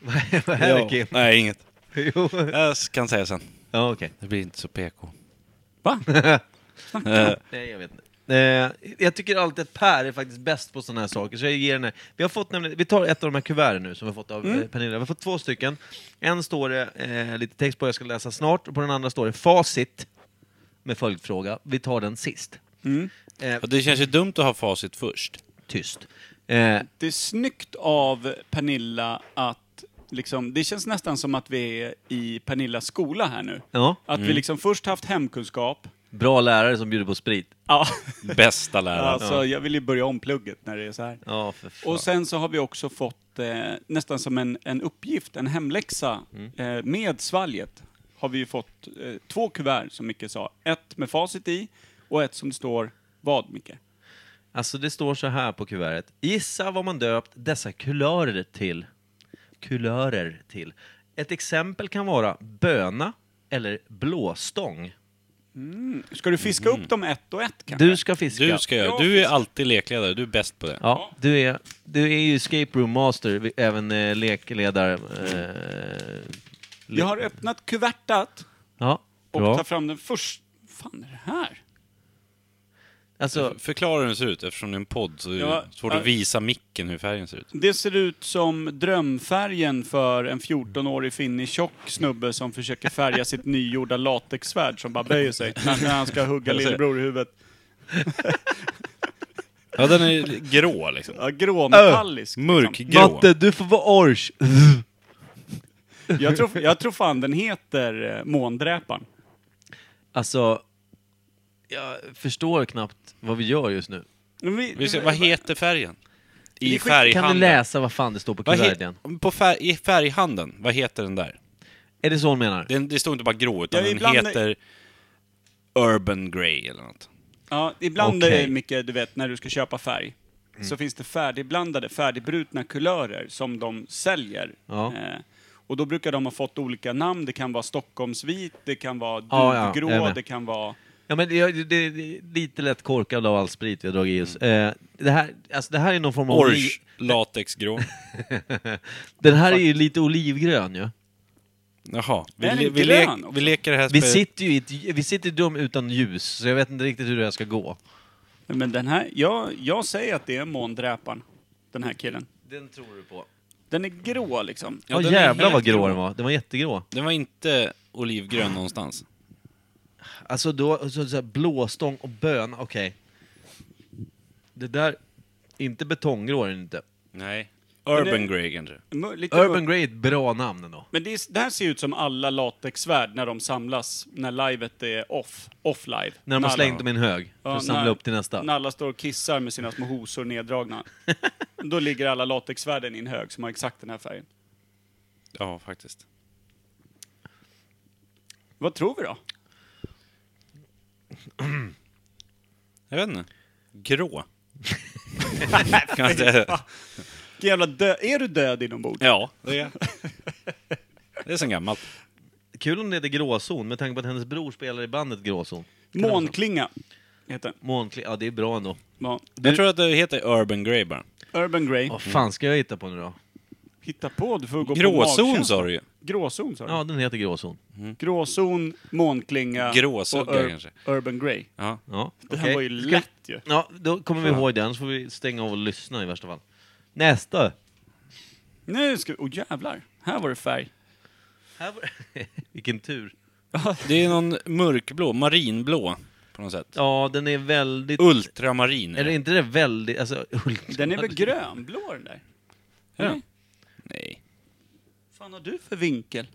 [SPEAKER 2] Vad är det
[SPEAKER 3] Ja.
[SPEAKER 2] Kim?
[SPEAKER 3] Nej, inget.
[SPEAKER 2] Jo.
[SPEAKER 3] Jag kan säga sen.
[SPEAKER 2] Ja, okej.
[SPEAKER 3] Det blir inte så PK.
[SPEAKER 1] Va?
[SPEAKER 3] Eh,
[SPEAKER 2] Nej, jag vet inte. Eh, jag tycker alltid att Per är faktiskt bäst på sådana här saker, så jag ger henne... Vi har fått nämligen, vi tar ett av de här kuverten nu som vi har fått av eh, Pernilla. Vi har fått två stycken. En står det eh, lite text på, jag ska läsa snart, och på den andra står det facit med följdfråga. Vi tar den sist. Eh,
[SPEAKER 3] och det känns ju dumt att ha facit först.
[SPEAKER 2] tyst. Eh,
[SPEAKER 1] Det är snyggt av Pernilla att liksom, det känns nästan som att vi är i Pernillas skola här nu.
[SPEAKER 2] ja,
[SPEAKER 1] Att vi liksom först haft hemkunskap.
[SPEAKER 2] bra lärare som bjuder på sprit.
[SPEAKER 1] Ja,
[SPEAKER 3] Bästa läraren.
[SPEAKER 1] alltså jag vill ju börja om plugget när det är så här.
[SPEAKER 2] Ja, för fan.
[SPEAKER 1] Och sen så har vi också fått eh, nästan som en, en uppgift, en hemläxa
[SPEAKER 2] Mm.
[SPEAKER 1] eh, med svalget. Har vi ju fått eh, två kuvert som Micke sa. Ett med facit i och ett som det står vad Micke?
[SPEAKER 2] Alltså det står så här på kuvertet. Gissa vad man döpt dessa kulörer till. kulörer till. Ett exempel kan vara böna eller blåstång.
[SPEAKER 1] Ska du fiska upp dem ett och ett kanske?
[SPEAKER 2] Mm. Du ska fiska.
[SPEAKER 3] Du ska göra. Du är alltid lekledare. Du är bäst på det.
[SPEAKER 2] Ja, du är, du är ju escape room master, vi- även eh, lekledare. Eh, le-
[SPEAKER 1] Jag har öppnat kuvertet
[SPEAKER 2] ja,
[SPEAKER 1] och
[SPEAKER 2] bra.
[SPEAKER 1] tar fram den först. fan är det här?
[SPEAKER 2] Alltså,
[SPEAKER 3] Förklara hur den ser ut eftersom det är en podd så är det
[SPEAKER 1] Ja,
[SPEAKER 3] svårt
[SPEAKER 1] ja.
[SPEAKER 3] att visa micken hur färgen ser ut.
[SPEAKER 1] Det ser ut som drömfärgen för en 14-årig finnig tjock snubbe som försöker färga sitt nygjorda latexsvärd som bara böjer sig när, när han ska hugga lillebror i huvudet.
[SPEAKER 3] Ja, den är grå liksom.
[SPEAKER 1] Ja, gråmetallisk. liksom.
[SPEAKER 3] Mörkgrå.
[SPEAKER 2] Matte, du får vara ors.
[SPEAKER 1] Jag tror, jag tror fan den heter eh, Måndräparen.
[SPEAKER 2] Alltså, jag förstår knappt vad vi gör just nu.
[SPEAKER 1] Men vi-
[SPEAKER 3] Vi ser- vad heter färgen? I
[SPEAKER 2] Kan du
[SPEAKER 3] färghandeln.
[SPEAKER 2] läsa vad fan det står på
[SPEAKER 3] Vad he-
[SPEAKER 2] kuvertet igen?
[SPEAKER 3] på fär, I färghandeln, vad heter den där?
[SPEAKER 2] Är det så hon menar?
[SPEAKER 3] Den, det står inte bara grå, utan
[SPEAKER 1] Ja,
[SPEAKER 3] den
[SPEAKER 1] ibland-
[SPEAKER 3] heter Urban Grey eller något.
[SPEAKER 1] Ja, ibland
[SPEAKER 2] Okej.
[SPEAKER 1] okay. Micke, du vet när du ska köpa färg,
[SPEAKER 3] Mm.
[SPEAKER 1] så finns det färdigblandade, färdigbrutna kulörer som de säljer.
[SPEAKER 2] Ja.
[SPEAKER 1] Eh, och då brukar de ha fått olika namn. Det kan vara Stockholmsvit, det kan vara
[SPEAKER 2] Ja, ja,
[SPEAKER 1] duvgrå,
[SPEAKER 2] jag är med.
[SPEAKER 1] det kan vara...
[SPEAKER 2] Ja, men jag, det, det, det är lite lätt korkad av all sprit vi har dragit i oss. Eh, det, här, alltså, det här är någon form av...
[SPEAKER 3] Orange, latexgrå.
[SPEAKER 2] Den här är ju lite olivgrön ju.
[SPEAKER 3] Jaha.
[SPEAKER 1] Är
[SPEAKER 3] Vi,
[SPEAKER 1] den
[SPEAKER 3] le, vi,
[SPEAKER 1] grön
[SPEAKER 3] lek,
[SPEAKER 1] också?
[SPEAKER 3] vi leker det här
[SPEAKER 2] Vi
[SPEAKER 3] spelet.
[SPEAKER 2] sitter ju i ett, vi sitter i ett rum utan ljus, så jag vet inte riktigt hur det här ska gå.
[SPEAKER 1] Men den här, jag, jag säger att det är måndräparen, den här killen.
[SPEAKER 2] Den tror du på.
[SPEAKER 1] Den är grå liksom.
[SPEAKER 2] Ja,
[SPEAKER 3] den är
[SPEAKER 2] jävlar
[SPEAKER 3] helt
[SPEAKER 2] vad grå den var. Den var jättegrå.
[SPEAKER 3] Den var inte olivgrön någonstans.
[SPEAKER 2] Alltså då, så, så här, blåstång och bön, okej. Det där, inte betonggrå är den inte.
[SPEAKER 3] Nej.
[SPEAKER 1] Den
[SPEAKER 3] Urban
[SPEAKER 1] är-
[SPEAKER 3] Grey kanske.
[SPEAKER 1] Mö- Lite
[SPEAKER 2] Urban Grey är ett bra namn ändå.
[SPEAKER 1] Men det, är, det här ser ut som alla latexsvärd när de samlas, när livet är off, off-live.
[SPEAKER 2] När de har
[SPEAKER 1] alla-
[SPEAKER 2] slängt dem i en hög, för
[SPEAKER 1] Ja,
[SPEAKER 2] att samla
[SPEAKER 1] när-
[SPEAKER 2] upp till nästa.
[SPEAKER 1] När alla står och kissar med sina små hosor neddragna. Då ligger alla latexvärden i en hög som har exakt den här färgen.
[SPEAKER 3] Ja, faktiskt.
[SPEAKER 1] Vad tror vi då?
[SPEAKER 3] Jag vet inte. Grå. kan jag säga.
[SPEAKER 1] Vilken Jävla dö- är du död inombords?
[SPEAKER 3] Ja, det är Det är sen gammalt.
[SPEAKER 2] Kul om det heter Gråzon, med tanke på att hennes bror spelar i bandet Gråzon.
[SPEAKER 1] Månklinga heter den.
[SPEAKER 2] Månkli, ja det är bra ändå.
[SPEAKER 1] Ja.
[SPEAKER 3] Jag tror att det heter Urban Grey bara.
[SPEAKER 1] Urban Grey.
[SPEAKER 2] Vad fan ska jag hitta på nu då?
[SPEAKER 1] Hitta på, du får gå på
[SPEAKER 3] Gråzon
[SPEAKER 1] magkänsla.
[SPEAKER 3] sa du ju.
[SPEAKER 1] Gråzon sa du? Mm.
[SPEAKER 2] Ja, den heter Gråzon.
[SPEAKER 1] Gråzon, månklinga
[SPEAKER 3] Gråsugga,
[SPEAKER 1] och Ur-
[SPEAKER 3] kanske.
[SPEAKER 1] Urban Grey.
[SPEAKER 3] Ja.
[SPEAKER 2] Ja,
[SPEAKER 1] Det här
[SPEAKER 2] okej.
[SPEAKER 1] var ju
[SPEAKER 2] Ska-
[SPEAKER 1] lätt ju.
[SPEAKER 2] Ja, då kommer vi ihåg den, så får vi stänga av och lyssna i värsta fall. Nästa!
[SPEAKER 1] Nu ska vi... Åh jävlar, här var det färg.
[SPEAKER 2] Här var... Vilken tur.
[SPEAKER 3] Det är någon mörkblå, marinblå på något sätt.
[SPEAKER 2] Ja, den är väldigt...
[SPEAKER 3] Ultramarin.
[SPEAKER 2] Eller inte det väldigt... Alltså, ultra...
[SPEAKER 1] Den är väl grönblå den där?
[SPEAKER 3] Ja. Nej.
[SPEAKER 1] fan har du för vinkel?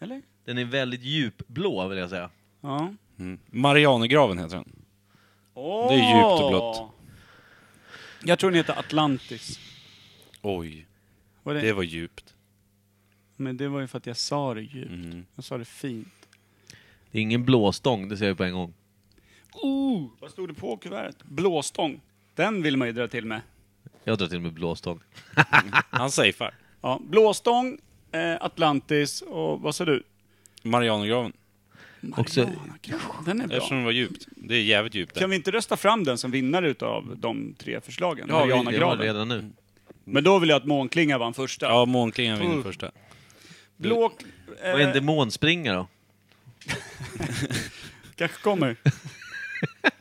[SPEAKER 1] Eller?
[SPEAKER 2] Den är väldigt djupblå, vill jag säga.
[SPEAKER 1] Ja.
[SPEAKER 3] Mm. Marianergraven heter den.
[SPEAKER 1] Åh!
[SPEAKER 3] Det är djupt och blått.
[SPEAKER 1] Jag tror den heter Atlantis.
[SPEAKER 3] Oj,
[SPEAKER 1] Var det?
[SPEAKER 3] det var djupt.
[SPEAKER 1] Men det var ju för att jag sa det djupt.
[SPEAKER 3] Mm.
[SPEAKER 1] Jag sa det fint.
[SPEAKER 2] Det är ingen blåstång, det ser jag på en gång.
[SPEAKER 1] Ooh, Oh! vad stod det på kuvertet? Blåstång. Den vill man ju dra till med.
[SPEAKER 2] Jag drar till med blåstång.
[SPEAKER 3] Han safear.
[SPEAKER 1] Ja, blåstång, eh, Atlantis och vad sa du?
[SPEAKER 3] Marianergraven.
[SPEAKER 2] Också-
[SPEAKER 1] Marianagraven. Den är bra.
[SPEAKER 3] Eftersom det var djupt. Det är jävligt djupt
[SPEAKER 1] Kan
[SPEAKER 3] där.
[SPEAKER 1] vi inte rösta fram den som vinnare utav de tre förslagen?
[SPEAKER 2] vi- det har vi
[SPEAKER 1] Marianagraven.
[SPEAKER 2] redan nu.
[SPEAKER 1] Men då vill jag att månklinga vann första. Mm.
[SPEAKER 3] Ja, månklingan vinner första.
[SPEAKER 1] Blå...
[SPEAKER 3] Mm.
[SPEAKER 2] Vad är en
[SPEAKER 1] Eh,
[SPEAKER 2] demonspringa då?
[SPEAKER 1] kanske kommer.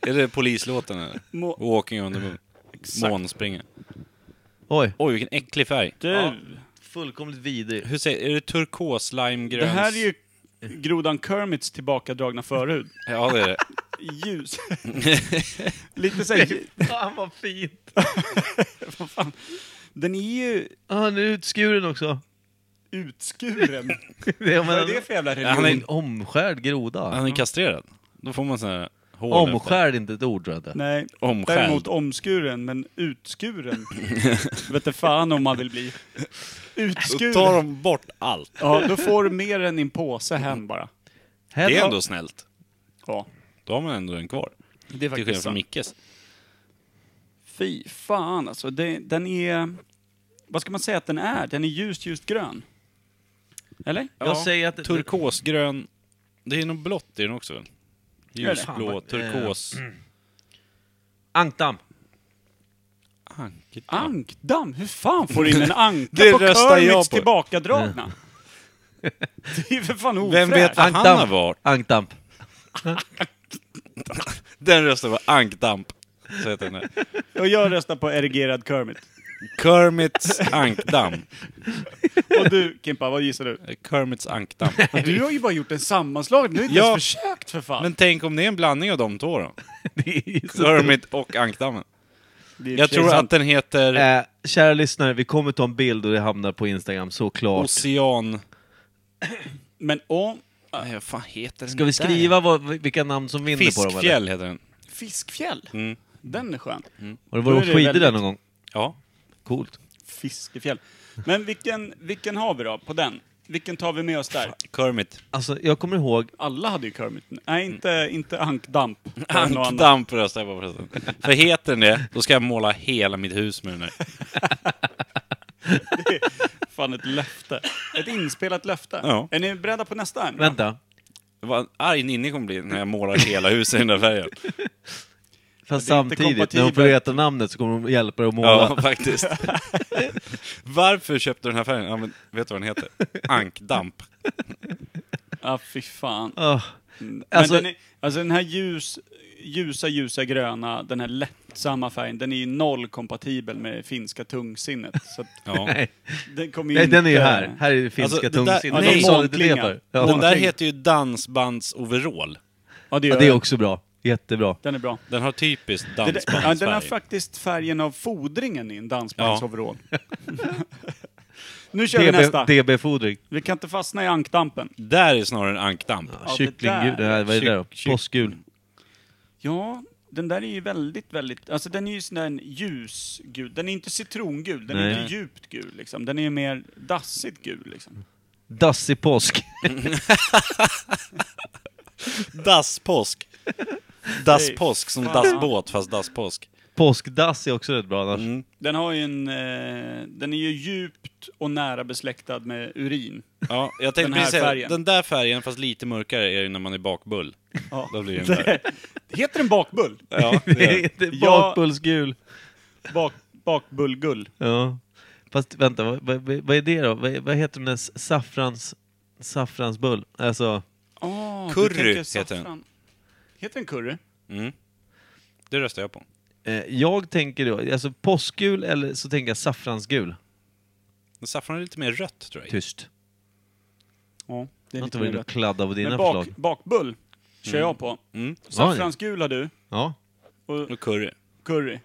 [SPEAKER 3] Är det polislåten eller?
[SPEAKER 1] Må-
[SPEAKER 3] Walking on the moon. Månspringa.
[SPEAKER 2] Oj,
[SPEAKER 3] Oj, vilken äcklig färg.
[SPEAKER 1] Du!
[SPEAKER 2] Ja. fullkomligt vidrig.
[SPEAKER 3] Hur säger, är det turkos, limegröns?
[SPEAKER 1] Det här är ju grodan Kermits tillbakadragna förhud.
[SPEAKER 3] Ja, det är det.
[SPEAKER 1] Ljus. Lite såhär...
[SPEAKER 2] Fan vad fint!
[SPEAKER 1] Den är ju
[SPEAKER 2] Ah, nu är utskuren också.
[SPEAKER 1] utskuren.
[SPEAKER 2] Det är,
[SPEAKER 1] Vad är det för jävla religion?
[SPEAKER 2] Han är en omskärd groda.
[SPEAKER 3] Han är kastrerad. Då får man sån här hår efter.
[SPEAKER 2] Omskärd är inte ett ord tror jag inte.
[SPEAKER 1] Nej,
[SPEAKER 3] Omskärd.
[SPEAKER 1] däremot omskuren, men utskuren. Vet du fan om man vill bli.
[SPEAKER 3] Då tar
[SPEAKER 1] Utskuren.
[SPEAKER 3] de bort allt.
[SPEAKER 1] Ja, då får du mer än din påse hem bara.
[SPEAKER 3] Det är
[SPEAKER 2] Hello.
[SPEAKER 3] ändå snällt.
[SPEAKER 1] Ja,
[SPEAKER 3] Då har man ändå den kvar.
[SPEAKER 1] det är
[SPEAKER 3] Till skillnad
[SPEAKER 1] faktiskt
[SPEAKER 3] från
[SPEAKER 1] sant.
[SPEAKER 3] Mickes.
[SPEAKER 1] Fy fan alltså, det, den är... Vad ska man säga att den är? Den är ljust, ljust grön. Eller?
[SPEAKER 2] Jag säger att...
[SPEAKER 3] Turkosgrön. Det är nog blått i den också.
[SPEAKER 2] Fan,
[SPEAKER 3] Ljusblå,
[SPEAKER 2] vad-
[SPEAKER 1] Eh,
[SPEAKER 3] turkos.
[SPEAKER 1] mm.
[SPEAKER 2] Ankdam.
[SPEAKER 3] Ah, Ankedam.
[SPEAKER 1] Ankdamm? Hur fan får in en anka
[SPEAKER 3] Det
[SPEAKER 1] på
[SPEAKER 3] röstar jag
[SPEAKER 1] Kermits
[SPEAKER 3] på.
[SPEAKER 1] tillbakadragna? Det är ju för fan
[SPEAKER 3] Vem vet
[SPEAKER 1] ofräscht.
[SPEAKER 3] vad han har
[SPEAKER 2] Ankdamp.
[SPEAKER 3] varit?
[SPEAKER 2] Ankdamp.
[SPEAKER 3] Den rösten var ankdamp. Så heter den här.
[SPEAKER 1] Och jag röstar på erigerad Kermit.
[SPEAKER 3] Kermits ankdamm.
[SPEAKER 1] Och du Kimpa, vad gissar du?
[SPEAKER 3] Kermits ankdamm.
[SPEAKER 1] Du har ju bara gjort en sammanslagning, du har inte
[SPEAKER 3] Ja.
[SPEAKER 1] ens försökt för fan.
[SPEAKER 3] Men tänk om det är en blandning av de två då?
[SPEAKER 2] Det är ju så-
[SPEAKER 3] Kermit och ankdammen.
[SPEAKER 1] Det är
[SPEAKER 3] Jag tror att den heter
[SPEAKER 2] Eh, kära lyssnare, vi kommer ta en bild och det hamnar på Instagram, såklart.
[SPEAKER 3] Ocean...
[SPEAKER 1] Men om...
[SPEAKER 3] Nej, vad fan heter den
[SPEAKER 2] Ska vi
[SPEAKER 3] där?
[SPEAKER 2] skriva vad, vilka namn som vinner på dem? eller?
[SPEAKER 3] Fiskfjäll heter den.
[SPEAKER 1] Fiskfjäll?
[SPEAKER 3] Mm.
[SPEAKER 1] Den är skön.
[SPEAKER 2] Har du
[SPEAKER 1] Då är
[SPEAKER 2] varit och
[SPEAKER 1] det
[SPEAKER 2] skidor där
[SPEAKER 1] väldigt-
[SPEAKER 2] någon gång?
[SPEAKER 3] Ja.
[SPEAKER 2] Coolt.
[SPEAKER 1] Fiskefjäll. Men vilken, vilken har vi då på den? Vilken tar vi med oss där?
[SPEAKER 3] Kermit.
[SPEAKER 2] Alltså, jag kommer ihåg...
[SPEAKER 1] Alla hade ju Kermit. Nej,
[SPEAKER 2] Mm.
[SPEAKER 1] inte, inte Ankdamp. Ankdamp.
[SPEAKER 3] Ankdamp röstar jag på förresten. För heter den det, då ska jag måla hela mitt hus med den här.
[SPEAKER 1] Fan, ett löfte. Ett inspelat löfte.
[SPEAKER 3] Ja.
[SPEAKER 1] Är ni beredda på nästa? Här? nu?
[SPEAKER 2] Vänta.
[SPEAKER 3] Vad arg Ninni kommer bli när jag målar hela huset i den där färgen.
[SPEAKER 2] Fast
[SPEAKER 1] det är inte
[SPEAKER 2] samtidigt, när hon får
[SPEAKER 1] kompatibelt.
[SPEAKER 2] veta namnet så kommer hon hjälpa dig att måla.
[SPEAKER 3] Ja, faktiskt. Varför köpte du den här färgen? Ja, men vet du vad den heter? Ankdamp.
[SPEAKER 1] Ja, fy fan.
[SPEAKER 2] Ah.
[SPEAKER 1] Alltså,
[SPEAKER 2] Alltså-
[SPEAKER 1] Men den, är, alltså den här ljus, ljusa, ljusa gröna, den här lättsamma färgen, den är ju noll kompatibel med det finska tungsinnet. Så att
[SPEAKER 3] Ja.
[SPEAKER 2] Nej,
[SPEAKER 1] den kommer ju
[SPEAKER 2] nej,
[SPEAKER 1] inte...
[SPEAKER 2] den är ju här. Här är det finska
[SPEAKER 3] Alltså, det där-
[SPEAKER 2] tungsinnet.
[SPEAKER 3] nej.
[SPEAKER 2] De sålde till det för. Ja.
[SPEAKER 3] Den där heter ju dansbandsoverall.
[SPEAKER 1] Ja, det
[SPEAKER 2] Ja,
[SPEAKER 1] gör
[SPEAKER 2] det är
[SPEAKER 1] den.
[SPEAKER 2] också bra. Jättebra.
[SPEAKER 1] Den är bra.
[SPEAKER 3] Den har typiskt
[SPEAKER 1] Det där- Ja, den har
[SPEAKER 3] dansbandsfärg.
[SPEAKER 1] faktiskt färgen av fodringen i en
[SPEAKER 3] Ja.
[SPEAKER 1] dansbandsoverall. nu kör vi nästa.
[SPEAKER 2] DB- DB-fodring.
[SPEAKER 1] Vi kan inte fastna i ankdampen.
[SPEAKER 3] Där är snarare en ankdamp.
[SPEAKER 1] det
[SPEAKER 2] Kycklinggul.
[SPEAKER 1] där.
[SPEAKER 2] Nej, Vad är det där då?
[SPEAKER 3] Kyck- kyck-
[SPEAKER 2] Påskgul.
[SPEAKER 1] Ja, den där är ju väldigt, väldigt... Alltså den är ju sån där ljusgul. Den är inte citrongul, den är
[SPEAKER 2] Nej.
[SPEAKER 1] inte djupt gul liksom. Den är ju mer dassigt gul liksom.
[SPEAKER 2] Dassig påsk.
[SPEAKER 3] Dasspåsk. Dasspåsk som
[SPEAKER 1] fan.
[SPEAKER 3] dassbåt fast dasspåsk.
[SPEAKER 2] Påskdass är också rätt bra annars.
[SPEAKER 3] Mm.
[SPEAKER 1] Den har ju en... Eh, den är ju djupt och nära besläktad med urin.
[SPEAKER 3] Ja, jag tänkte
[SPEAKER 1] Den här
[SPEAKER 3] precis säga,
[SPEAKER 1] färgen.
[SPEAKER 3] den där färgen fast lite mörkare är det när man är bakbull.
[SPEAKER 1] Ja.
[SPEAKER 3] Då blir den där.
[SPEAKER 1] Heter den bakbull?
[SPEAKER 3] Ja, det är.
[SPEAKER 2] Det
[SPEAKER 3] det.
[SPEAKER 2] är inte
[SPEAKER 1] Ja.
[SPEAKER 2] Bakbullsgul.
[SPEAKER 1] Bak, bakbullgull.
[SPEAKER 2] Ja. Fast vänta, vad, vad, vad är det då? Vad, vad heter den där s- saffrans... Saffransbull? Alltså...
[SPEAKER 1] Oh, du
[SPEAKER 3] Ah, Curry
[SPEAKER 1] tänker
[SPEAKER 3] heter den.
[SPEAKER 1] saffran. Heter den curry?
[SPEAKER 3] Mm. Det röstar jag på.
[SPEAKER 2] Eh, jag tänker då, alltså påskgul eller så tänker jag saffransgul.
[SPEAKER 3] Men Saffran är lite mer rött tror
[SPEAKER 1] Typ.
[SPEAKER 3] jag.
[SPEAKER 2] Tyst.
[SPEAKER 1] Ja, det
[SPEAKER 2] Jag
[SPEAKER 1] är
[SPEAKER 2] har
[SPEAKER 1] lite
[SPEAKER 2] inte varit inne
[SPEAKER 1] mer
[SPEAKER 2] och kladdat på dina
[SPEAKER 1] Men bak,
[SPEAKER 2] förslag.
[SPEAKER 1] bakbull kör jag på.
[SPEAKER 3] Mm.
[SPEAKER 1] Saffransgul har du
[SPEAKER 2] Ja.
[SPEAKER 1] och
[SPEAKER 3] Och curry.
[SPEAKER 1] curry.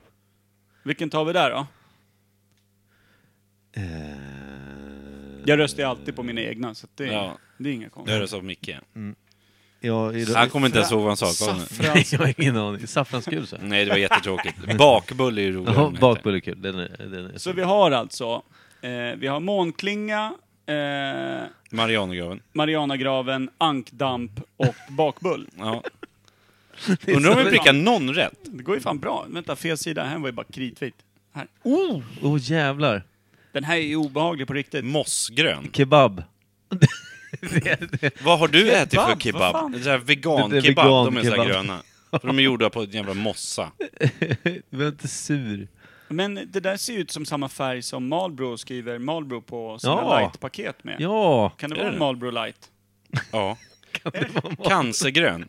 [SPEAKER 1] Vilken tar vi där då?
[SPEAKER 2] Eh,
[SPEAKER 1] Jag röstar ju alltid på mina egna, så att det, är-
[SPEAKER 3] Ja.
[SPEAKER 1] det är inga
[SPEAKER 3] Jag
[SPEAKER 1] konstigt.
[SPEAKER 3] röstar på Micke.
[SPEAKER 2] Jag, är-
[SPEAKER 3] Han kommer inte ens ihåg vad han sa. kom nu.
[SPEAKER 1] Saffrans...
[SPEAKER 2] jag har ingen aning. Saffransgul så.
[SPEAKER 3] Nej, det var jättetråkigt. Bakbull är ju roligare.
[SPEAKER 2] Jaha,
[SPEAKER 3] än det heter.
[SPEAKER 2] bakbull är kul. Den är, den är.
[SPEAKER 1] Mm. Så vi har alltså, eh, vi har månklinga, eh,
[SPEAKER 3] Marianergraven.
[SPEAKER 1] Marianagraven, ankdamp och bakbull.
[SPEAKER 3] Ja.
[SPEAKER 2] Det är
[SPEAKER 3] Undrar om
[SPEAKER 2] så-
[SPEAKER 3] vi prickar någon rätt?
[SPEAKER 1] Det går ju fan bra. Vänta, fel sida. Den här var ju bara kritvit. Här.
[SPEAKER 2] Åh jävlar.
[SPEAKER 1] Den här är ju obehaglig på riktigt.
[SPEAKER 3] Mossgrön.
[SPEAKER 2] Kebab.
[SPEAKER 3] Vad har du ätit för
[SPEAKER 1] Vad
[SPEAKER 3] kebab?
[SPEAKER 1] fan?
[SPEAKER 3] Det där
[SPEAKER 2] Det- det är
[SPEAKER 3] vegan-kebab, de är så här
[SPEAKER 2] vegan-kebab.
[SPEAKER 3] gröna. För de är gjorda på en jävla mossa.
[SPEAKER 2] Du är inte sur.
[SPEAKER 1] Men det där ser ju ut som samma färg som Marlboro skriver Marlboro på sina
[SPEAKER 2] Ja.
[SPEAKER 1] light-paket med.
[SPEAKER 2] Ja.
[SPEAKER 1] Kan det
[SPEAKER 3] Är
[SPEAKER 1] vara
[SPEAKER 3] det?
[SPEAKER 1] en Marlboro light?
[SPEAKER 3] Ja. Cancergrön.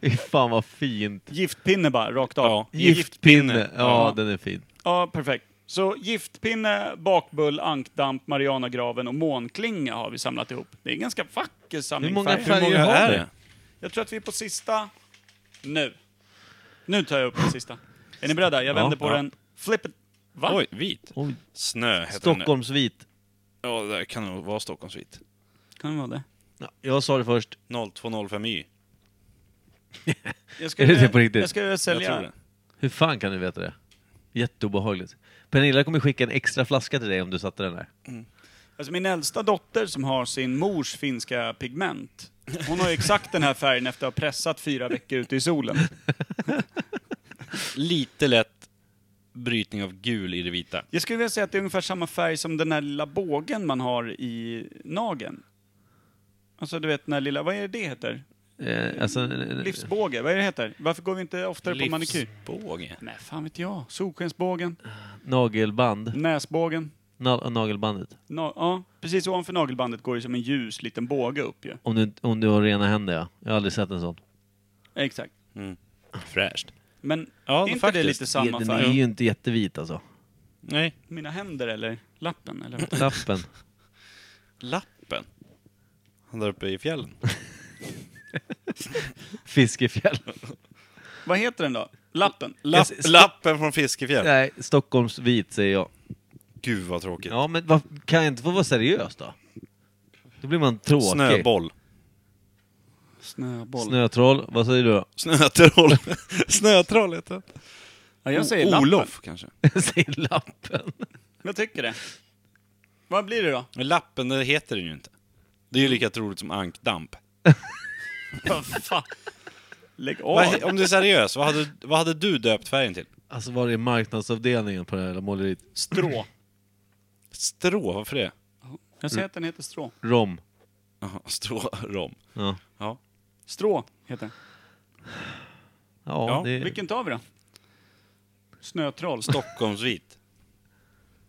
[SPEAKER 2] Fy Fan vad fint.
[SPEAKER 1] Giftpinne bara, rakt av.
[SPEAKER 3] Ja.
[SPEAKER 2] Giftpinne.
[SPEAKER 1] Ja.
[SPEAKER 2] Ja, den är fin.
[SPEAKER 1] Ja, perfekt. Så giftpinne, bakbull, ankdamp, Marianagraven och månklinga har vi samlat ihop. Det är en ganska vacker samling
[SPEAKER 2] Hur många
[SPEAKER 1] färger.
[SPEAKER 2] färger
[SPEAKER 3] Hur många
[SPEAKER 2] har
[SPEAKER 3] är
[SPEAKER 2] du?
[SPEAKER 3] det?
[SPEAKER 1] Jag tror att vi är på sista nu. Nu tar jag upp den sista. Är ni beredda? Jag vänder på
[SPEAKER 3] ja.
[SPEAKER 1] den. Flip it. Va?
[SPEAKER 3] Oj, vit.
[SPEAKER 2] Oj,
[SPEAKER 3] Snö heter den.
[SPEAKER 2] Stockholmsvit.
[SPEAKER 3] där. Ja, det där kan nog vara Stockholmsvit.
[SPEAKER 1] Kan det vara det?
[SPEAKER 2] Ja, jag sa det först.
[SPEAKER 3] 0205Y.
[SPEAKER 1] Jag
[SPEAKER 2] Är det det på riktigt?
[SPEAKER 1] Jag skulle
[SPEAKER 3] Jag tror
[SPEAKER 1] sälja.
[SPEAKER 3] det.
[SPEAKER 2] Hur fan kan du veta det? Jätteobehagligt. Pernilla kommer skicka en extra flaska till dig om du satte den där.
[SPEAKER 1] Alltså min äldsta dotter som har sin mors finska pigment. Hon har ju exakt den här färgen efter att ha pressat fyra veckor ute i solen.
[SPEAKER 3] Lite lätt brytning av gul i det vita.
[SPEAKER 1] Jag skulle vilja säga att det är ungefär samma färg som den här lilla bågen man har i nagen. Alltså du vet den här lilla, vad är det det heter?
[SPEAKER 2] Eh, alltså,
[SPEAKER 1] Livsbåge, vad är det heter? Varför går vi inte oftare på manikyr?
[SPEAKER 3] Livsbåge.
[SPEAKER 1] Nej, fan vet jag. Solskensbågen,
[SPEAKER 2] nagelband.
[SPEAKER 1] näsbågen.
[SPEAKER 2] Na nagelbandet.
[SPEAKER 1] Na- ja, precis ovanför nagelbandet går det som en ljus liten båge upp ju.
[SPEAKER 2] Om du, om du har rena händer, ja. Jag har aldrig sett en sån.
[SPEAKER 1] Exakt.
[SPEAKER 3] Fräscht.
[SPEAKER 1] Men
[SPEAKER 3] Ja,
[SPEAKER 1] är inte
[SPEAKER 3] faktiskt.
[SPEAKER 1] det lite
[SPEAKER 2] Den
[SPEAKER 1] samma
[SPEAKER 2] är ju
[SPEAKER 1] färg?
[SPEAKER 2] inte jättevit alltså.
[SPEAKER 3] Nej.
[SPEAKER 1] Mina händer eller lappen eller? vad?
[SPEAKER 2] Lappen.
[SPEAKER 3] Lappen. Han där uppe i fjällen.
[SPEAKER 2] Fiskefjäll.
[SPEAKER 1] vad heter den då? Lappen?
[SPEAKER 3] Lapp,
[SPEAKER 2] s-
[SPEAKER 3] lappen från Fiskefjäll.
[SPEAKER 2] Nej, Stockholms vit säger jag.
[SPEAKER 3] Gud vad tråkigt.
[SPEAKER 2] Ja, men vad, kan jag inte få vara seriös då? Då blir man tråkig.
[SPEAKER 3] Snöboll.
[SPEAKER 1] Snöboll.
[SPEAKER 2] Snötroll. Vad säger du då?
[SPEAKER 3] Snötroll. Snötroll heter han.
[SPEAKER 1] Ja, jag säger lappen.
[SPEAKER 3] Olof kanske.
[SPEAKER 2] Jag säger lappen.
[SPEAKER 1] Jag tycker det. Vad blir det då?
[SPEAKER 3] Men lappen, det heter den ju inte. Det är ju lika troligt som ankdamp.
[SPEAKER 1] Vad fan? Lägg av.
[SPEAKER 3] Vad he- om du är seriös, vad hade, vad hade du döpt färgen till?
[SPEAKER 2] Alltså var är marknadsavdelningen på det här jävla måleriet?
[SPEAKER 1] Strå.
[SPEAKER 3] Strå, varför det?
[SPEAKER 1] Jag säger att den heter strå.
[SPEAKER 2] Rom.
[SPEAKER 3] Jaha, strårom.
[SPEAKER 2] Ja.
[SPEAKER 3] Ja.
[SPEAKER 1] Strå heter den.
[SPEAKER 2] Ja,
[SPEAKER 3] Ja,
[SPEAKER 2] det,
[SPEAKER 1] Vilken tar vi då? Snötroll. Sto-
[SPEAKER 3] Stockholmsvit.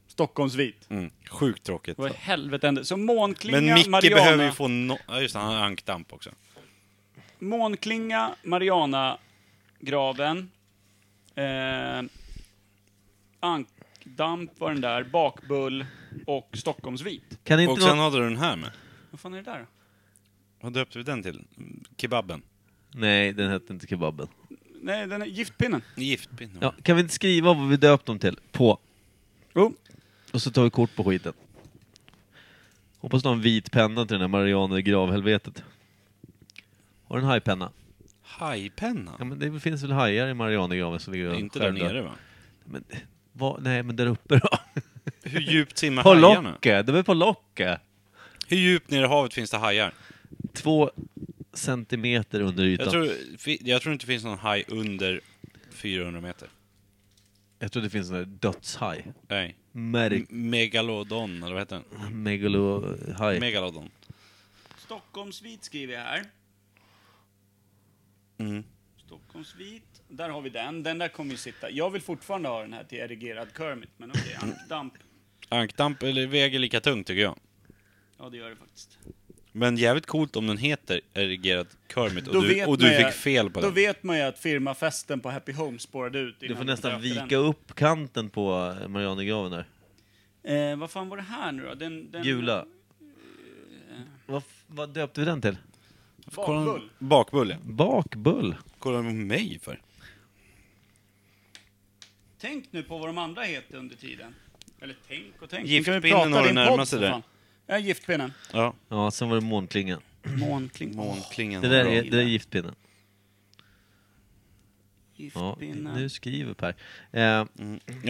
[SPEAKER 1] Stockholmsvit.
[SPEAKER 3] Mm. Sjukt tråkigt.
[SPEAKER 1] Vad i helvete hände? Så månklinga,
[SPEAKER 3] Men Micke
[SPEAKER 1] Mariana...
[SPEAKER 3] behöver ju få no- Ja just det, han har ankdamp också.
[SPEAKER 1] Månklinga, Mariana, graven. Eh, ankdamp var den där, bakbull och Stockholmsvit.
[SPEAKER 2] Kan inte
[SPEAKER 3] Och
[SPEAKER 2] någon...
[SPEAKER 3] sen hade du den här med.
[SPEAKER 1] Vad fan är det där då?
[SPEAKER 3] Vad döpte vi den till? Mm, Kebaben. Nej,
[SPEAKER 2] Nej, den hette inte kebaben.
[SPEAKER 1] Nej, den är giftpinnen.
[SPEAKER 3] Giftpinne.
[SPEAKER 2] Ja, kan vi inte skriva vad vi döpt dem till? På.
[SPEAKER 1] Jo.
[SPEAKER 2] Och så tar vi kort på skiten. Hoppas du har en vit penna till den här Marianer i gravhelvetet. Har du en hajpenna?
[SPEAKER 3] Hajpenna?
[SPEAKER 2] Ja, men det finns väl hajar i Marianergraven som ligger
[SPEAKER 3] Det är
[SPEAKER 2] och
[SPEAKER 3] inte där
[SPEAKER 2] skärmdör.
[SPEAKER 3] nere va?
[SPEAKER 2] Men, vad- nej, men där uppe då?
[SPEAKER 3] Hur djupt simmar
[SPEAKER 2] På
[SPEAKER 3] hajarna?
[SPEAKER 2] locket! De är på locket!
[SPEAKER 3] Hur djupt nere i havet finns det hajar?
[SPEAKER 2] Två centimeter under ytan.
[SPEAKER 3] Jag tror, fi- jag tror inte det finns någon haj under 400 meter.
[SPEAKER 2] Jag tror det finns en där dödshaj.
[SPEAKER 3] Nej.
[SPEAKER 2] Mer-
[SPEAKER 3] M- Megalodon, eller vad heter den?
[SPEAKER 2] Megalohaj.
[SPEAKER 3] Megalodon.
[SPEAKER 1] Stockholmsvit skriver jag här. Mm. Stockholmsvit. Där har vi den. Den där kommer ju sitta. Jag vill fortfarande ha den här till erigerad Kermit, men okej, ankdamp.
[SPEAKER 3] Ankdamp eller väger lika tungt tycker jag.
[SPEAKER 1] Ja, det gör det faktiskt.
[SPEAKER 3] Men jävligt coolt om den heter erigerad Kermit och
[SPEAKER 1] Då
[SPEAKER 3] du,
[SPEAKER 1] vet
[SPEAKER 3] och du
[SPEAKER 1] man ju-
[SPEAKER 3] fick fel på
[SPEAKER 1] Då
[SPEAKER 3] den.
[SPEAKER 1] vet man ju att firmafesten på Happy Home spårade ut.
[SPEAKER 2] du
[SPEAKER 1] innan
[SPEAKER 2] får
[SPEAKER 1] de
[SPEAKER 2] nästan
[SPEAKER 1] döpte
[SPEAKER 2] vika
[SPEAKER 1] den.
[SPEAKER 2] upp kanten på Marianergraven där.
[SPEAKER 1] Eh, vad fan var det här nu då? Den, den
[SPEAKER 2] Gula. Vad, f- vad döpte vi den till?
[SPEAKER 1] Bakbull.
[SPEAKER 3] Bakbull, ja.
[SPEAKER 2] Bakbull.
[SPEAKER 3] Kollar du på mig för?
[SPEAKER 1] Tänk nu på vad de andra heter under tiden. Eller tänk och tänk.
[SPEAKER 3] Giftpinnen
[SPEAKER 1] Nu kan vi prata
[SPEAKER 3] har
[SPEAKER 1] i
[SPEAKER 3] du
[SPEAKER 1] en podd,
[SPEAKER 3] närmat dig
[SPEAKER 1] för
[SPEAKER 3] där.
[SPEAKER 1] fan. Ja, giftpinnen.
[SPEAKER 3] Ja.
[SPEAKER 2] Ja, sen var det månklingan.
[SPEAKER 1] Månkling.
[SPEAKER 3] Månklingan.
[SPEAKER 2] Det där
[SPEAKER 3] bra.
[SPEAKER 2] är, det där är giftpinnen. Ja,
[SPEAKER 1] Giftpinnen.
[SPEAKER 2] nu skriver Per. Eh,
[SPEAKER 3] Ja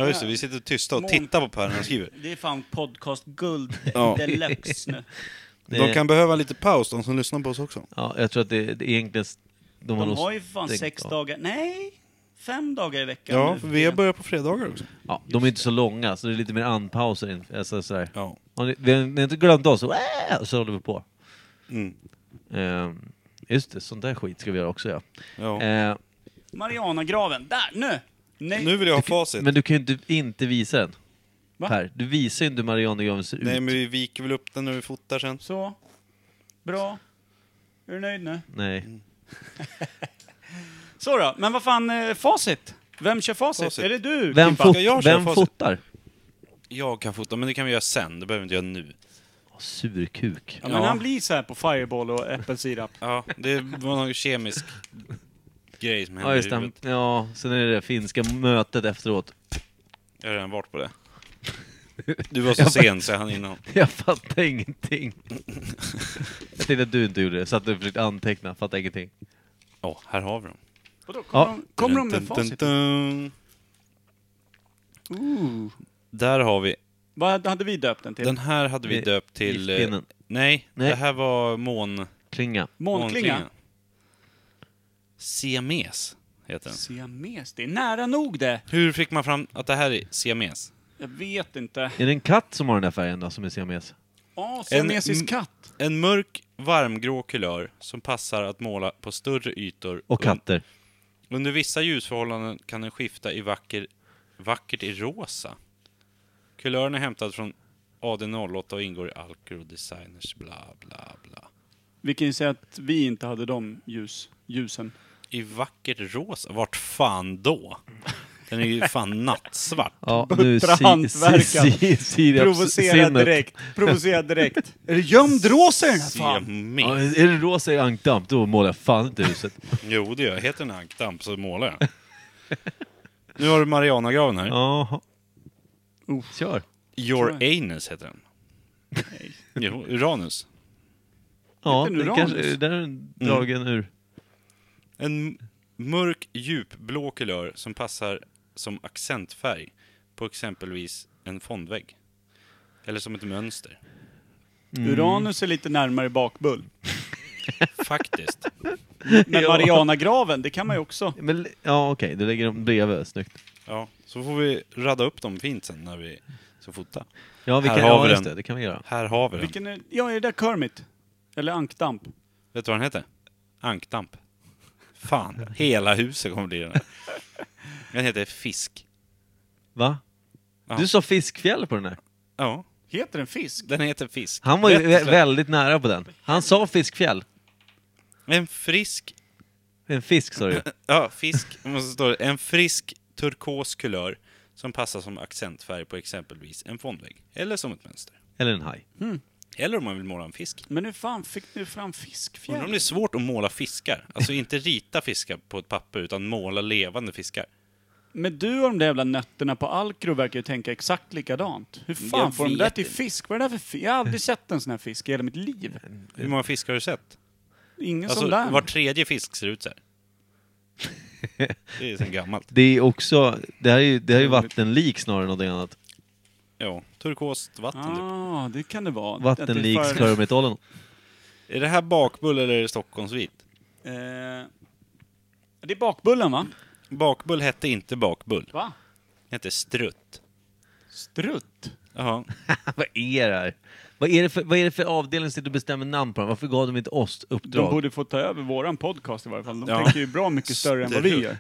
[SPEAKER 3] just det, vi sitter tysta och tittar på Per när han skriver.
[SPEAKER 1] Det är fan podcastguld
[SPEAKER 3] Ja.
[SPEAKER 1] deluxe nu.
[SPEAKER 2] det-
[SPEAKER 3] behöva lite paus, de som lyssnar på oss också.
[SPEAKER 2] eh, Ja, jag tror att det, det är egentligen... s- De
[SPEAKER 1] De
[SPEAKER 2] nog
[SPEAKER 1] har ju för fan
[SPEAKER 2] stängt
[SPEAKER 1] sex
[SPEAKER 2] av.
[SPEAKER 1] dagar, nej, fem dagar i veckan. nu för tiden.
[SPEAKER 3] börjat på fredagar också.
[SPEAKER 2] Ja, de är inte så långa, så det är lite mer andpauser. in- Alltså, sådär.
[SPEAKER 3] Ja.
[SPEAKER 2] Har ni, vi har ni har inte glömt oss, så, äh, så håller vi på.
[SPEAKER 3] Mm.
[SPEAKER 2] Ehm, just det, sånt där skit ska vi göra också ja.
[SPEAKER 3] Ja.
[SPEAKER 2] Ehm,
[SPEAKER 1] Marianagraven, där, nu! Nej,
[SPEAKER 3] Nu vill jag ha facit.
[SPEAKER 2] men du kan ju inte, inte visa den.
[SPEAKER 1] Va?
[SPEAKER 2] Per, du visar ju inte hur Marianergraven ser
[SPEAKER 3] Nej
[SPEAKER 2] ut.
[SPEAKER 3] men vi viker väl upp den när vi fotar sen.
[SPEAKER 1] så. Bra. Är du nöjd nu?
[SPEAKER 3] Mm.
[SPEAKER 2] Nej.
[SPEAKER 1] Så då, men vad fan, eh, facit? Vem kör facit?
[SPEAKER 3] Facit.
[SPEAKER 1] Är det du,
[SPEAKER 2] Vem,
[SPEAKER 1] Kimpa?
[SPEAKER 2] fot,
[SPEAKER 3] Ska jag köra
[SPEAKER 2] vem
[SPEAKER 3] facit?
[SPEAKER 2] fotar?
[SPEAKER 3] Jag kan fota, men det kan vi göra sen. Det behöver vi inte göra nu.
[SPEAKER 2] Åh, Surkuk.
[SPEAKER 1] Ja, men
[SPEAKER 3] Ja.
[SPEAKER 1] han blir så här på Fireball och äppelsirap.
[SPEAKER 3] Ja, det var någon kemisk grej som hände
[SPEAKER 2] Ja,
[SPEAKER 3] i
[SPEAKER 2] just det.
[SPEAKER 3] huvudet.
[SPEAKER 2] Ja, sen är det det finska mötet efteråt.
[SPEAKER 3] Jag har redan varit på det. Du var så sen så jag hann innan.
[SPEAKER 2] Jag fattar ingenting. Jag tänkte att du inte gjorde det, så att du försökte anteckna. Fattar ingenting.
[SPEAKER 3] Ja, här har vi dem.
[SPEAKER 1] Vadå, kommer,
[SPEAKER 2] Ja.
[SPEAKER 1] de, kommer de med facit?
[SPEAKER 3] Dun, dun, dun. Där har vi.
[SPEAKER 1] Vad hade vi döpt den till?
[SPEAKER 3] Den här hade vi
[SPEAKER 2] Det-
[SPEAKER 3] döpt till... eh,
[SPEAKER 2] giftpinnen.
[SPEAKER 3] Nej,
[SPEAKER 2] Nej.
[SPEAKER 3] det här var mån...
[SPEAKER 2] Klinga.
[SPEAKER 1] Månklinga?
[SPEAKER 3] Siames Heter den.
[SPEAKER 1] Siames, det är nära nog det.
[SPEAKER 3] Hur fick man fram att det här är siames?
[SPEAKER 1] Jag vet inte.
[SPEAKER 2] Är det en katt som har den där färgen då, som är siames?
[SPEAKER 1] Ja, siamesisk
[SPEAKER 3] mm.
[SPEAKER 1] katt.
[SPEAKER 3] En mörk, varmgrå kulör som passar att måla på större ytor.
[SPEAKER 2] Och katter.
[SPEAKER 3] Un- Under vissa ljusförhållanden kan den skifta i vacker, vackert i rosa. Kulören är hämtad från AD08 och ingår i Alcro Designers bla bla bla.
[SPEAKER 1] Vi kan ju säga att vi inte hade de ljus, ljusen.
[SPEAKER 3] I vackert rosa? Vart fan då? Den är ju fan nattsvart.
[SPEAKER 2] Ja,
[SPEAKER 1] Buttra hantverkaren.
[SPEAKER 2] sirapssinnet.
[SPEAKER 1] Provocera direkt. Provocera direkt. är det gömd rosa i den här fan?
[SPEAKER 2] Ja,
[SPEAKER 3] Siames.
[SPEAKER 2] är det rosa i ankdamp, då målar jag fan inte huset.
[SPEAKER 3] Jo, det gör jag. Heter den ankdamp så målar jag. Nu har du Marianagraven här.
[SPEAKER 2] Ja. Kör.
[SPEAKER 3] Your
[SPEAKER 1] Tror
[SPEAKER 3] anus heter den. Jo, Uranus.
[SPEAKER 2] Ja,
[SPEAKER 1] Liten
[SPEAKER 2] det
[SPEAKER 1] uranus.
[SPEAKER 2] kanske, där är den dragen ur.
[SPEAKER 3] En m- mörk djupblå kulör som passar som accentfärg på exempelvis en fondvägg. Eller som ett mönster.
[SPEAKER 1] Uranus är lite närmare bakbull.
[SPEAKER 3] Faktiskt.
[SPEAKER 1] Men
[SPEAKER 2] Ja.
[SPEAKER 1] Marianagraven, det kan man ju också.
[SPEAKER 2] Men, ja, okej, du lägger dem bredvid. Snyggt.
[SPEAKER 3] Ja, så får vi radda upp dem fint sen när vi ska fota.
[SPEAKER 2] Ja, vi
[SPEAKER 3] Här
[SPEAKER 2] kan,
[SPEAKER 3] har
[SPEAKER 2] ja
[SPEAKER 3] vi
[SPEAKER 2] just
[SPEAKER 3] den.
[SPEAKER 2] det, det kan vi göra.
[SPEAKER 3] Här har vi den.
[SPEAKER 1] Vilken är, ja, är det där Kermit? Eller ankdamp?
[SPEAKER 3] Vet du vad den heter? Ankdamp. Fan, hela huset kommer bli den här. Den heter Fisk.
[SPEAKER 2] Va?
[SPEAKER 3] Ja.
[SPEAKER 2] Du sa fiskfjäll på den här.
[SPEAKER 3] Ja,
[SPEAKER 1] Heter den fisk?
[SPEAKER 3] den heter Fisk.
[SPEAKER 2] Han var ju
[SPEAKER 3] Rätt och
[SPEAKER 2] vä-
[SPEAKER 3] slätt.
[SPEAKER 2] väldigt nära på den. Han sa fiskfjäll.
[SPEAKER 3] En frisk
[SPEAKER 2] En fisk sa du
[SPEAKER 3] Ja, fisk. Och så står det, en frisk turkos kulör som passar som accentfärg på exempelvis en fondvägg. Eller som ett mönster.
[SPEAKER 2] Eller en haj.
[SPEAKER 3] Eller om man vill måla en fisk.
[SPEAKER 1] Men hur fan fick du fram
[SPEAKER 3] Undrar om det
[SPEAKER 1] fiskfjäll?
[SPEAKER 3] är svårt att måla fiskar. Alltså inte rita fiskar på ett papper, utan måla levande fiskar.
[SPEAKER 1] Men du och de där jävla nötterna på Alcro verkar ju tänka exakt likadant. Hur fan
[SPEAKER 3] Jag
[SPEAKER 1] får de
[SPEAKER 3] vet
[SPEAKER 1] där till
[SPEAKER 3] inte.
[SPEAKER 1] fisk? Vad är det där för fisk? Jag har aldrig sett en sån här fisk i hela mitt liv.
[SPEAKER 3] Hur många fiskar har du sett?
[SPEAKER 1] Ingen
[SPEAKER 3] Alltså,
[SPEAKER 1] sån där.
[SPEAKER 3] var tredje fisk ser ut så här. Det är sen gammalt.
[SPEAKER 2] Det är också, det här är ju, det här är ju vattenlik snarare än något annat.
[SPEAKER 3] Ja, turkost vatten typ.
[SPEAKER 1] ah, det kan det vara.
[SPEAKER 2] Vattenlik
[SPEAKER 1] Att det är för-
[SPEAKER 2] Skarvmetollen.
[SPEAKER 3] Är det här bakbull eller är det Stockholmsvit?
[SPEAKER 1] Eh, det är bakbullen va?
[SPEAKER 3] Bakbull hette inte bakbull.
[SPEAKER 1] Va?
[SPEAKER 3] Det hette strutt.
[SPEAKER 1] Strutt?
[SPEAKER 3] Jaha.
[SPEAKER 2] Vad är det här? Vad är det för, vad är det för avdelning som sitter och bestämmer namn på dem? Varför gav de inte oss
[SPEAKER 1] De
[SPEAKER 2] uppdrag?
[SPEAKER 1] borde få ta över våran podcast i varje fall. De
[SPEAKER 3] Ja.
[SPEAKER 1] tänker ju bra mycket större än vad vi
[SPEAKER 3] Strutt.
[SPEAKER 1] gör.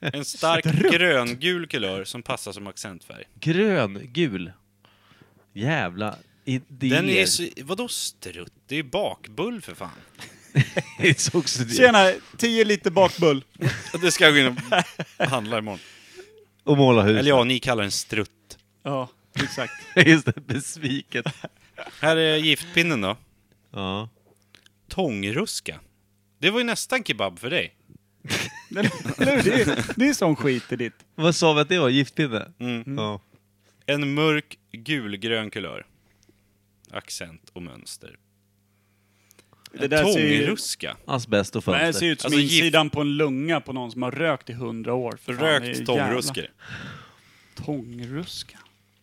[SPEAKER 3] En stark gröngul kulör som passar som accentfärg.
[SPEAKER 2] Grön, gul. Jävla idéer.
[SPEAKER 3] Den är så, vadå strutt? Det är ju bakbull för fan.
[SPEAKER 2] Det är så också det.
[SPEAKER 1] Tjena, 10 liter bakbull.
[SPEAKER 3] Det ska jag gå in och handla imorgon.
[SPEAKER 2] Och måla hus.
[SPEAKER 3] Eller ja, ni kallar den strutt.
[SPEAKER 1] Ja, exakt.
[SPEAKER 2] Just det, besviket.
[SPEAKER 3] Här är giftpinnen då.
[SPEAKER 2] Ja.
[SPEAKER 3] Tångruska. Det var ju nästan kebab för dig.
[SPEAKER 1] Eller- eller hur? det, är, det är sån skit i ditt.
[SPEAKER 2] Vad sa vi att det var? Giftpinne?
[SPEAKER 3] Mm.
[SPEAKER 2] Ja.
[SPEAKER 3] En mörk gulgrön kulör. Accent och mönster.
[SPEAKER 1] Det
[SPEAKER 3] En
[SPEAKER 1] där ser ju-
[SPEAKER 3] tångruska.
[SPEAKER 2] Asbest och
[SPEAKER 1] Det här
[SPEAKER 2] fönster.
[SPEAKER 1] ser ut som
[SPEAKER 3] Alltså, gift-
[SPEAKER 1] insidan på en lunga på någon som har rökt i hundra år. För fan, det är
[SPEAKER 3] Rökt
[SPEAKER 1] ju
[SPEAKER 3] tångruske.
[SPEAKER 1] jävla Tångruska.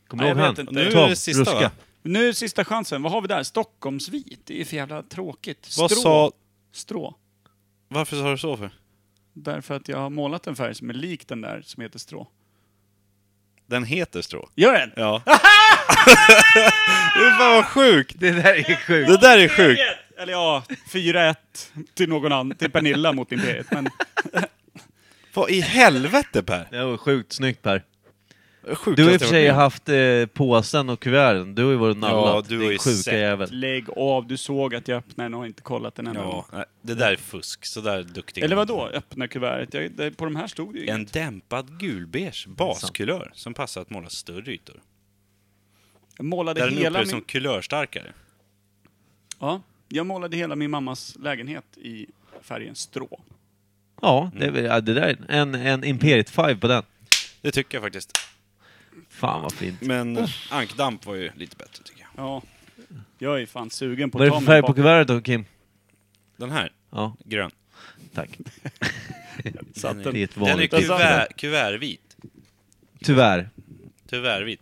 [SPEAKER 2] Kommer
[SPEAKER 1] Nej,
[SPEAKER 2] du ihåg
[SPEAKER 1] jag
[SPEAKER 2] han?
[SPEAKER 1] vet inte.
[SPEAKER 3] Nu är
[SPEAKER 2] Tom,
[SPEAKER 3] det sista,
[SPEAKER 2] Ruska.
[SPEAKER 3] va?
[SPEAKER 1] Nu är det sista chansen. Vad har vi där? Stockholmsvit. Det är för jävla tråkigt. Strå.
[SPEAKER 3] Vad sa...
[SPEAKER 1] Strå.
[SPEAKER 3] Varför sa du så för?
[SPEAKER 1] Därför att jag har målat en färg som är lik den där som heter strå.
[SPEAKER 3] Den heter strå.
[SPEAKER 1] Gör den?
[SPEAKER 3] Ja. det är fan vad sjukt!
[SPEAKER 2] Det där är sjukt.
[SPEAKER 3] Det där är sjukt!
[SPEAKER 1] Eller ja, 4-1 till någon annan. Till Pernilla mot Imperiet. Men
[SPEAKER 3] Vad i helvete Per!
[SPEAKER 2] Det var sjukt snyggt Per.
[SPEAKER 3] Sjukt
[SPEAKER 2] Du har i
[SPEAKER 3] att
[SPEAKER 2] och för
[SPEAKER 3] jag
[SPEAKER 2] sig
[SPEAKER 3] varit med.
[SPEAKER 2] haft eh, påsen och kuverten. Du har ju varit nallat.
[SPEAKER 3] Ja, du har
[SPEAKER 2] din
[SPEAKER 3] ju
[SPEAKER 2] sjuka
[SPEAKER 3] sett.
[SPEAKER 2] jävel.
[SPEAKER 1] lägg av. Du såg att jag öppnade den och har inte kollat den ännu.
[SPEAKER 3] Ja, nej, det där är fusk. Så där duktig.
[SPEAKER 1] Eller vad då? Öppna kuvertet? Jag, det, på de här stod det ju
[SPEAKER 3] En
[SPEAKER 1] inget.
[SPEAKER 3] dämpad gulbeige baskulör som passar att måla större ytor.
[SPEAKER 1] Jag målade
[SPEAKER 3] Där den
[SPEAKER 1] hela
[SPEAKER 3] upplevs
[SPEAKER 1] min...
[SPEAKER 3] som kulörstarkare.
[SPEAKER 1] Ja, jag målade hela min mammas lägenhet i färgen strå.
[SPEAKER 2] Ja, det, är väl- ja, det där är en, en Imperiet 5 på den.
[SPEAKER 3] Det tycker jag faktiskt.
[SPEAKER 2] Fan vad fint.
[SPEAKER 3] Men ankdamp var ju lite bättre tycker jag.
[SPEAKER 1] Ja, jag är fan sugen på
[SPEAKER 2] Vad är
[SPEAKER 1] att ta
[SPEAKER 2] det för
[SPEAKER 1] mig
[SPEAKER 2] färg på
[SPEAKER 1] bak.
[SPEAKER 2] kuvertet då Kim?
[SPEAKER 3] Den här,
[SPEAKER 2] Ja,
[SPEAKER 3] grön.
[SPEAKER 2] tack.
[SPEAKER 1] Så att
[SPEAKER 2] Det är
[SPEAKER 1] den,
[SPEAKER 2] ett
[SPEAKER 3] Den är
[SPEAKER 2] vanligt
[SPEAKER 3] kuvert, kuvertvit.
[SPEAKER 2] Tyvärr.
[SPEAKER 3] Tyvärrvit.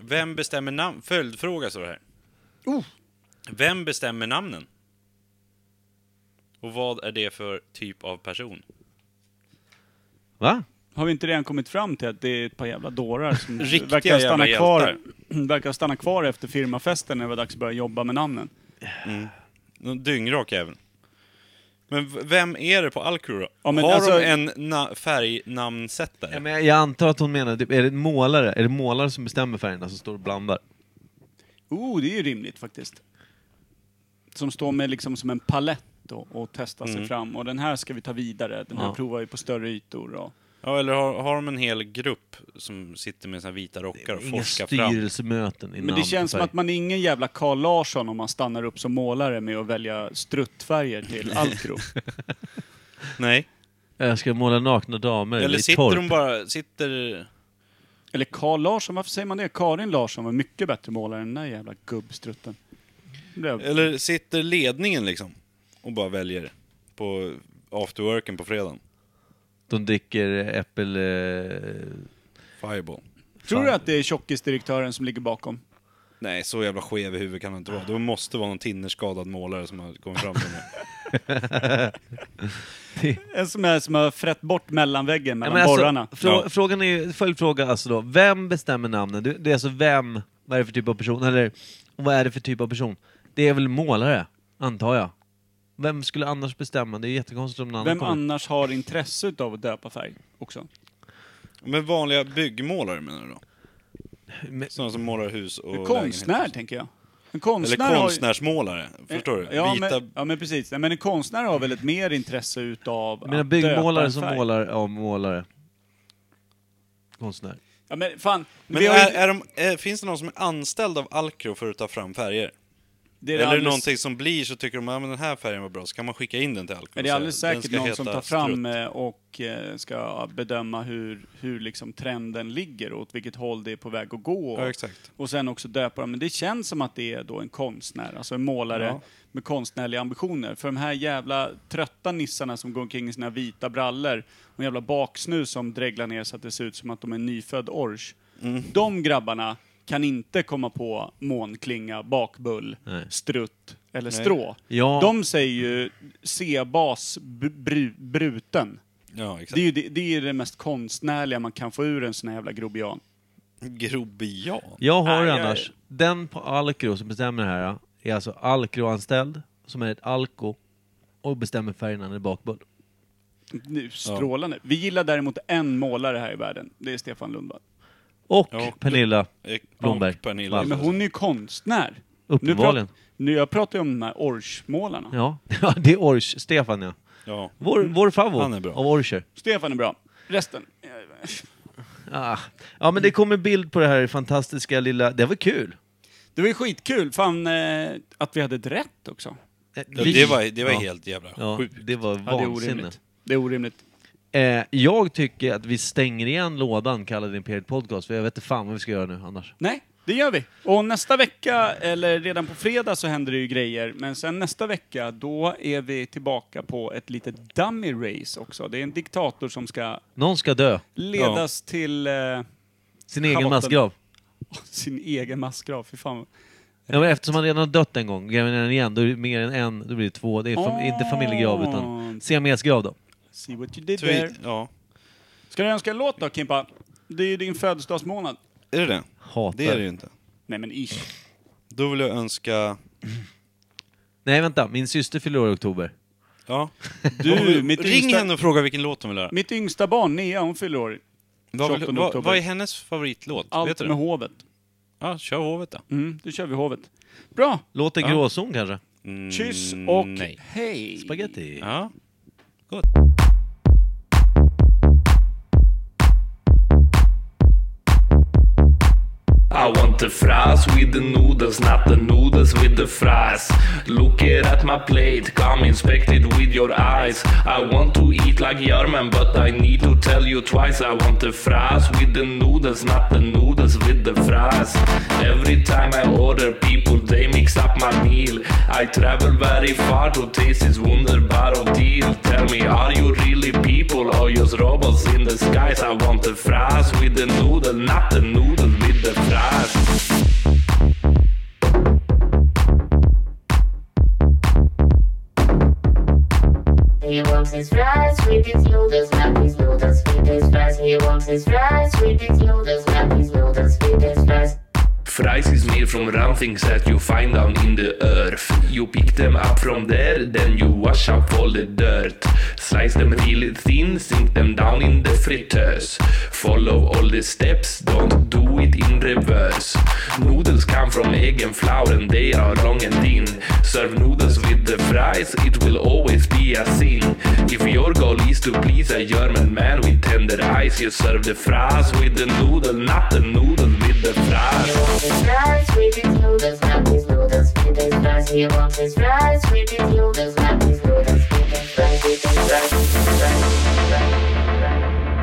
[SPEAKER 3] Vem bestämmer namn? Följdfråga står det här.
[SPEAKER 2] Oh.
[SPEAKER 3] Vem bestämmer namnen? Och vad är det för typ av person?
[SPEAKER 2] Va?
[SPEAKER 1] Har vi inte redan kommit fram till att det är ett par jävla dårar som
[SPEAKER 3] Riktiga
[SPEAKER 1] verkar stanna,
[SPEAKER 3] jävla
[SPEAKER 1] kvar, verkar stanna kvar efter firmafesten när det var dags att börja jobba med namnen?
[SPEAKER 3] Någon dyngrak även. Men v- vem är det på Alcro då?
[SPEAKER 1] Ja, men
[SPEAKER 3] Har
[SPEAKER 1] alltså-
[SPEAKER 3] de en na- färgnamnsättare?
[SPEAKER 2] Ja, men jag- jag antar att hon menar, typ, är det en målare? Är det målare som bestämmer färgerna som står och blandar?
[SPEAKER 1] Oh, det är ju rimligt faktiskt. Som står med liksom som en palett och, och testar sig fram. Och den här ska vi ta vidare. Den här
[SPEAKER 2] Mm. Ja.
[SPEAKER 1] provar vi på större ytor. Och,
[SPEAKER 3] Ja, eller har, har de en hel grupp som sitter med sina vita rockar och
[SPEAKER 2] Inga
[SPEAKER 3] forskar fram?
[SPEAKER 2] styrelsemöten i
[SPEAKER 1] men det
[SPEAKER 2] namn
[SPEAKER 1] känns som
[SPEAKER 2] färg.
[SPEAKER 1] att man är ingen jävla Carl Larsson om man stannar upp som målare med att välja struttfärger till Alcro.
[SPEAKER 3] Nej.
[SPEAKER 2] Jag ska måla nakna damer
[SPEAKER 3] Eller
[SPEAKER 2] i
[SPEAKER 3] sitter
[SPEAKER 2] torp.
[SPEAKER 3] de bara... Sitter...
[SPEAKER 1] Eller Carl Larsson, varför säger man det? Karin Larsson var mycket bättre målare än den där jävla gubbstrutten. Det
[SPEAKER 2] Eh,
[SPEAKER 1] blev-
[SPEAKER 3] Eller sitter ledningen liksom och bara väljer på afterworken på fredagen?
[SPEAKER 2] De dricker äppel... Eh,
[SPEAKER 3] Fireball.
[SPEAKER 1] Tror du att det är tjockisdirektören som ligger bakom?
[SPEAKER 3] Nej, så jävla skev i huvudet kan han inte vara. Det måste vara någon tinnerskadad målare som har kommit fram till det.
[SPEAKER 1] En som, är, som har frätt bort mellanväggen
[SPEAKER 2] Ja,
[SPEAKER 1] mellan
[SPEAKER 2] men alltså,
[SPEAKER 1] borrarna.
[SPEAKER 2] frå,
[SPEAKER 3] Ja.
[SPEAKER 2] Frågan är ju, följdfråga alltså då, vem bestämmer namnen? Du- Det är alltså vem, vad är det för typ av person? Eller vad är det för typ av person? Det är väl målare, antar jag. Vem skulle annars bestämma? Det är jättekonstigt om någon annan
[SPEAKER 1] Vem
[SPEAKER 2] kommer.
[SPEAKER 1] annars har intresse av att döpa färg också?
[SPEAKER 3] Men vanliga byggmålare menar du då?
[SPEAKER 2] Men-
[SPEAKER 3] Sådana som målar hus och
[SPEAKER 1] En konstnär,
[SPEAKER 3] lägenheter.
[SPEAKER 1] tänker jag. En
[SPEAKER 3] Eller
[SPEAKER 1] konstnär
[SPEAKER 3] konstnärsmålare,
[SPEAKER 1] har ju...
[SPEAKER 3] förstår du?
[SPEAKER 1] Ja,
[SPEAKER 3] Vita...
[SPEAKER 1] men, ja, men precis. Nej, Men en konstnär har väl ett mer intresse utav
[SPEAKER 2] Jag menar
[SPEAKER 1] att döpa
[SPEAKER 2] byggmålare
[SPEAKER 1] en
[SPEAKER 2] som
[SPEAKER 1] färg.
[SPEAKER 2] målar, ja målare. Konstnär.
[SPEAKER 1] Ja, men fan.
[SPEAKER 3] Men
[SPEAKER 1] vi har
[SPEAKER 3] är,
[SPEAKER 1] ju...
[SPEAKER 3] är de, är, finns det någon som är anställd av Alcro för att ta fram färger?
[SPEAKER 1] det är
[SPEAKER 3] Eller
[SPEAKER 1] alldeles-
[SPEAKER 3] någonting som blir så tycker de att den här färgen var bra, så kan man skicka in den till Alcro.
[SPEAKER 1] Men
[SPEAKER 3] och
[SPEAKER 1] det är
[SPEAKER 3] säga,
[SPEAKER 1] alldeles
[SPEAKER 3] "Den
[SPEAKER 1] säkert
[SPEAKER 3] ska
[SPEAKER 1] någon
[SPEAKER 3] heta
[SPEAKER 1] som tar
[SPEAKER 3] Strut."
[SPEAKER 1] fram eh, och eh, ska bedöma hur, hur liksom trenden ligger och åt vilket håll det är på väg att gå.
[SPEAKER 3] Ja, exakt.
[SPEAKER 1] Och sen också döpa dem. Men det känns som att det är då en konstnär, alltså en målare
[SPEAKER 3] Ja.
[SPEAKER 1] med konstnärliga ambitioner. För de här jävla trötta nissarna som går omkring i sina vita brallor och en jävla baksnus som dreglar ner så att det ser ut som att de är en nyfödd orch.
[SPEAKER 3] Mm.
[SPEAKER 1] De grabbarna kan inte komma på månklinga, bakbull,
[SPEAKER 2] Nej.
[SPEAKER 1] strutt eller strå.
[SPEAKER 2] Ja.
[SPEAKER 1] De säger ju C-bas br- bru, bruten.
[SPEAKER 3] Ja, exakt.
[SPEAKER 1] Det är ju det, det, är det mest konstnärliga man kan få ur en sån här jävla grobian.
[SPEAKER 3] Grobian?
[SPEAKER 2] Jag har
[SPEAKER 1] Nej, jag-
[SPEAKER 2] annars, den på Alcro som bestämmer det här, ja, är alltså Alcro-anställd, som är ett Alco, och bestämmer färgerna när det är bakbull.
[SPEAKER 1] Nu, strålande. Vi gillar däremot en målare här i världen. Det är Stefan Lundvall.
[SPEAKER 2] Och
[SPEAKER 3] Ja.
[SPEAKER 2] Pernilla
[SPEAKER 3] Eh,
[SPEAKER 2] Blomberg.
[SPEAKER 3] och Pernilla.
[SPEAKER 2] Wall.
[SPEAKER 1] Men hon är ju konstnär.
[SPEAKER 2] Alltså.
[SPEAKER 1] Nu,
[SPEAKER 2] Uppenbarligen.
[SPEAKER 1] prat, nu jag pratar ju om de här orchmålarna.
[SPEAKER 2] Ja, ja det är Orch, Stefan ja.
[SPEAKER 3] Ja.
[SPEAKER 2] Vår, vår favorit
[SPEAKER 3] Mm. Han är bra.
[SPEAKER 2] av Orcher.
[SPEAKER 1] Stefan är bra. Resten. eh,
[SPEAKER 2] Ah. Ja men det kommer bild på det här fantastiska lilla, det var kul.
[SPEAKER 1] Det var ju skitkul. Fan eh, att vi hade ett rätt också.
[SPEAKER 2] Eh,
[SPEAKER 3] Ja,
[SPEAKER 2] vi-
[SPEAKER 3] det var, det var
[SPEAKER 2] ja.
[SPEAKER 3] helt jävla
[SPEAKER 2] ja,
[SPEAKER 3] sjukt.
[SPEAKER 2] Det var
[SPEAKER 1] Ja, det är
[SPEAKER 2] vansinne.
[SPEAKER 1] orimligt. Det är orimligt.
[SPEAKER 2] eh, jag tycker att vi stänger igen lådan kallad Imperiet Podcast, för jag vet inte fan vad vi ska göra nu annars.
[SPEAKER 1] Nej, det gör vi. Och nästa vecka, eller redan på fredag, så händer det ju grejer. Men sen nästa vecka, då är vi tillbaka på ett litet dummy race också. Det är en diktator som ska
[SPEAKER 2] Någon ska dö.
[SPEAKER 1] ledas till eh,
[SPEAKER 2] Sin egen
[SPEAKER 1] Chabotten.
[SPEAKER 2] massgrav.
[SPEAKER 1] sin egen massgrav. Fy fan.
[SPEAKER 2] Ja, men eftersom han redan har dött en gång, gräver den igen, då är det mer än en, då blir det två. Det är fam-
[SPEAKER 1] Ah.
[SPEAKER 2] inte familjegrav utan siamesgrav då.
[SPEAKER 1] See what you did there.
[SPEAKER 3] Twi- ja.
[SPEAKER 1] Ska du önska en låt då, Kimpa? Det är ju din födelsedagsmånad.
[SPEAKER 3] Är det det?
[SPEAKER 2] Hatar.
[SPEAKER 3] Det är det ju inte.
[SPEAKER 1] Nej men ish.
[SPEAKER 3] Då vill jag önska...
[SPEAKER 2] Nej vänta, min syster fyller år i oktober.
[SPEAKER 3] Ja.
[SPEAKER 1] Du, mitt
[SPEAKER 3] Ring
[SPEAKER 1] yngsta,
[SPEAKER 3] henne och fråga vilken låt hon vill höra.
[SPEAKER 1] mitt yngsta barn, Nea, hon fyller år.
[SPEAKER 3] Vad, vill,
[SPEAKER 1] 28
[SPEAKER 3] vad,
[SPEAKER 1] oktober.
[SPEAKER 3] vad är hennes favoritlåt? Vet
[SPEAKER 1] Allt
[SPEAKER 3] du
[SPEAKER 1] med
[SPEAKER 3] det?
[SPEAKER 1] hovet.
[SPEAKER 3] Ja, kör hovet då.
[SPEAKER 1] Mm, då kör vi hovet. Bra!
[SPEAKER 2] Låter
[SPEAKER 3] Ja.
[SPEAKER 2] gråzon kanske?
[SPEAKER 3] Mm,
[SPEAKER 1] Kyss och
[SPEAKER 3] Nej.
[SPEAKER 1] hej!
[SPEAKER 2] Spaghetti.
[SPEAKER 3] Ja.
[SPEAKER 7] I want the fries with the noodles, not the noodles with the fries. Look it at my plate, come inspect it with your eyes. I want to eat like Yarman, but I need to tell you twice. I want the fries with the noodles, not the noodles with the fries. Every time I order, people they mix up my meal. I travel very far to taste this wunderbare deal. Tell me, are you really people or just robots in the skies? I want the fries with the noodle, not the noodle with the fries.
[SPEAKER 8] He wants his fries with his noodles, not his noodles with his He wants his fries with his noodles, not his noodles with his fries.
[SPEAKER 7] Fries is made from round things that you find down in the earth. You pick them up from there, then you wash up all the dirt. Slice them really thin, sink them down in the fritters. Follow all the steps, don't do it in reverse. Noodles come from egg and flour and they are long and thin. Serve noodles with the fries, it will always be a sin. If your goal is to please a German man with tender eyes, you serve the fries with the noodle, not the noodle with the fries.
[SPEAKER 8] He wants his fries with his noodles, not his noodles with his fries. He wants his fries with his noodles, not his noodles with his fries. With his fries, with his fries, with his fries.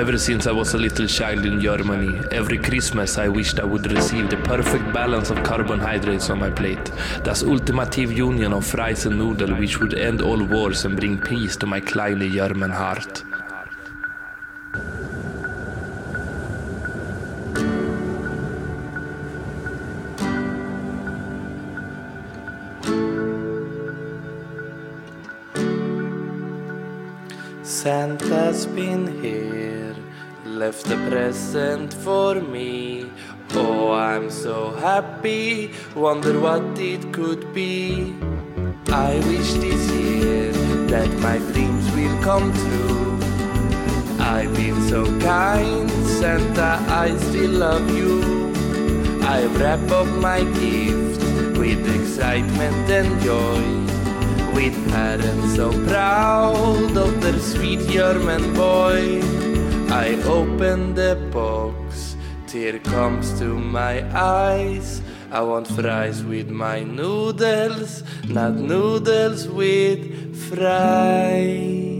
[SPEAKER 7] Ever since I was a little child in Germany, every Christmas I wished I would receive the perfect balance of carbohydrates on my plate. Das ultimative union of fries and noodle which would end all wars and bring peace to my kleine German heart.
[SPEAKER 9] Santa's been here, left a present for me. Oh, I'm so happy, wonder what it could be. I wish this year that my dreams will come true. I've been so kind, Santa, I still love you. I wrap up my gift with excitement and joy. With parents so proud of their sweet German boy, I open the box, tear comes to my eyes. I want fries with my noodles, not noodles with fries.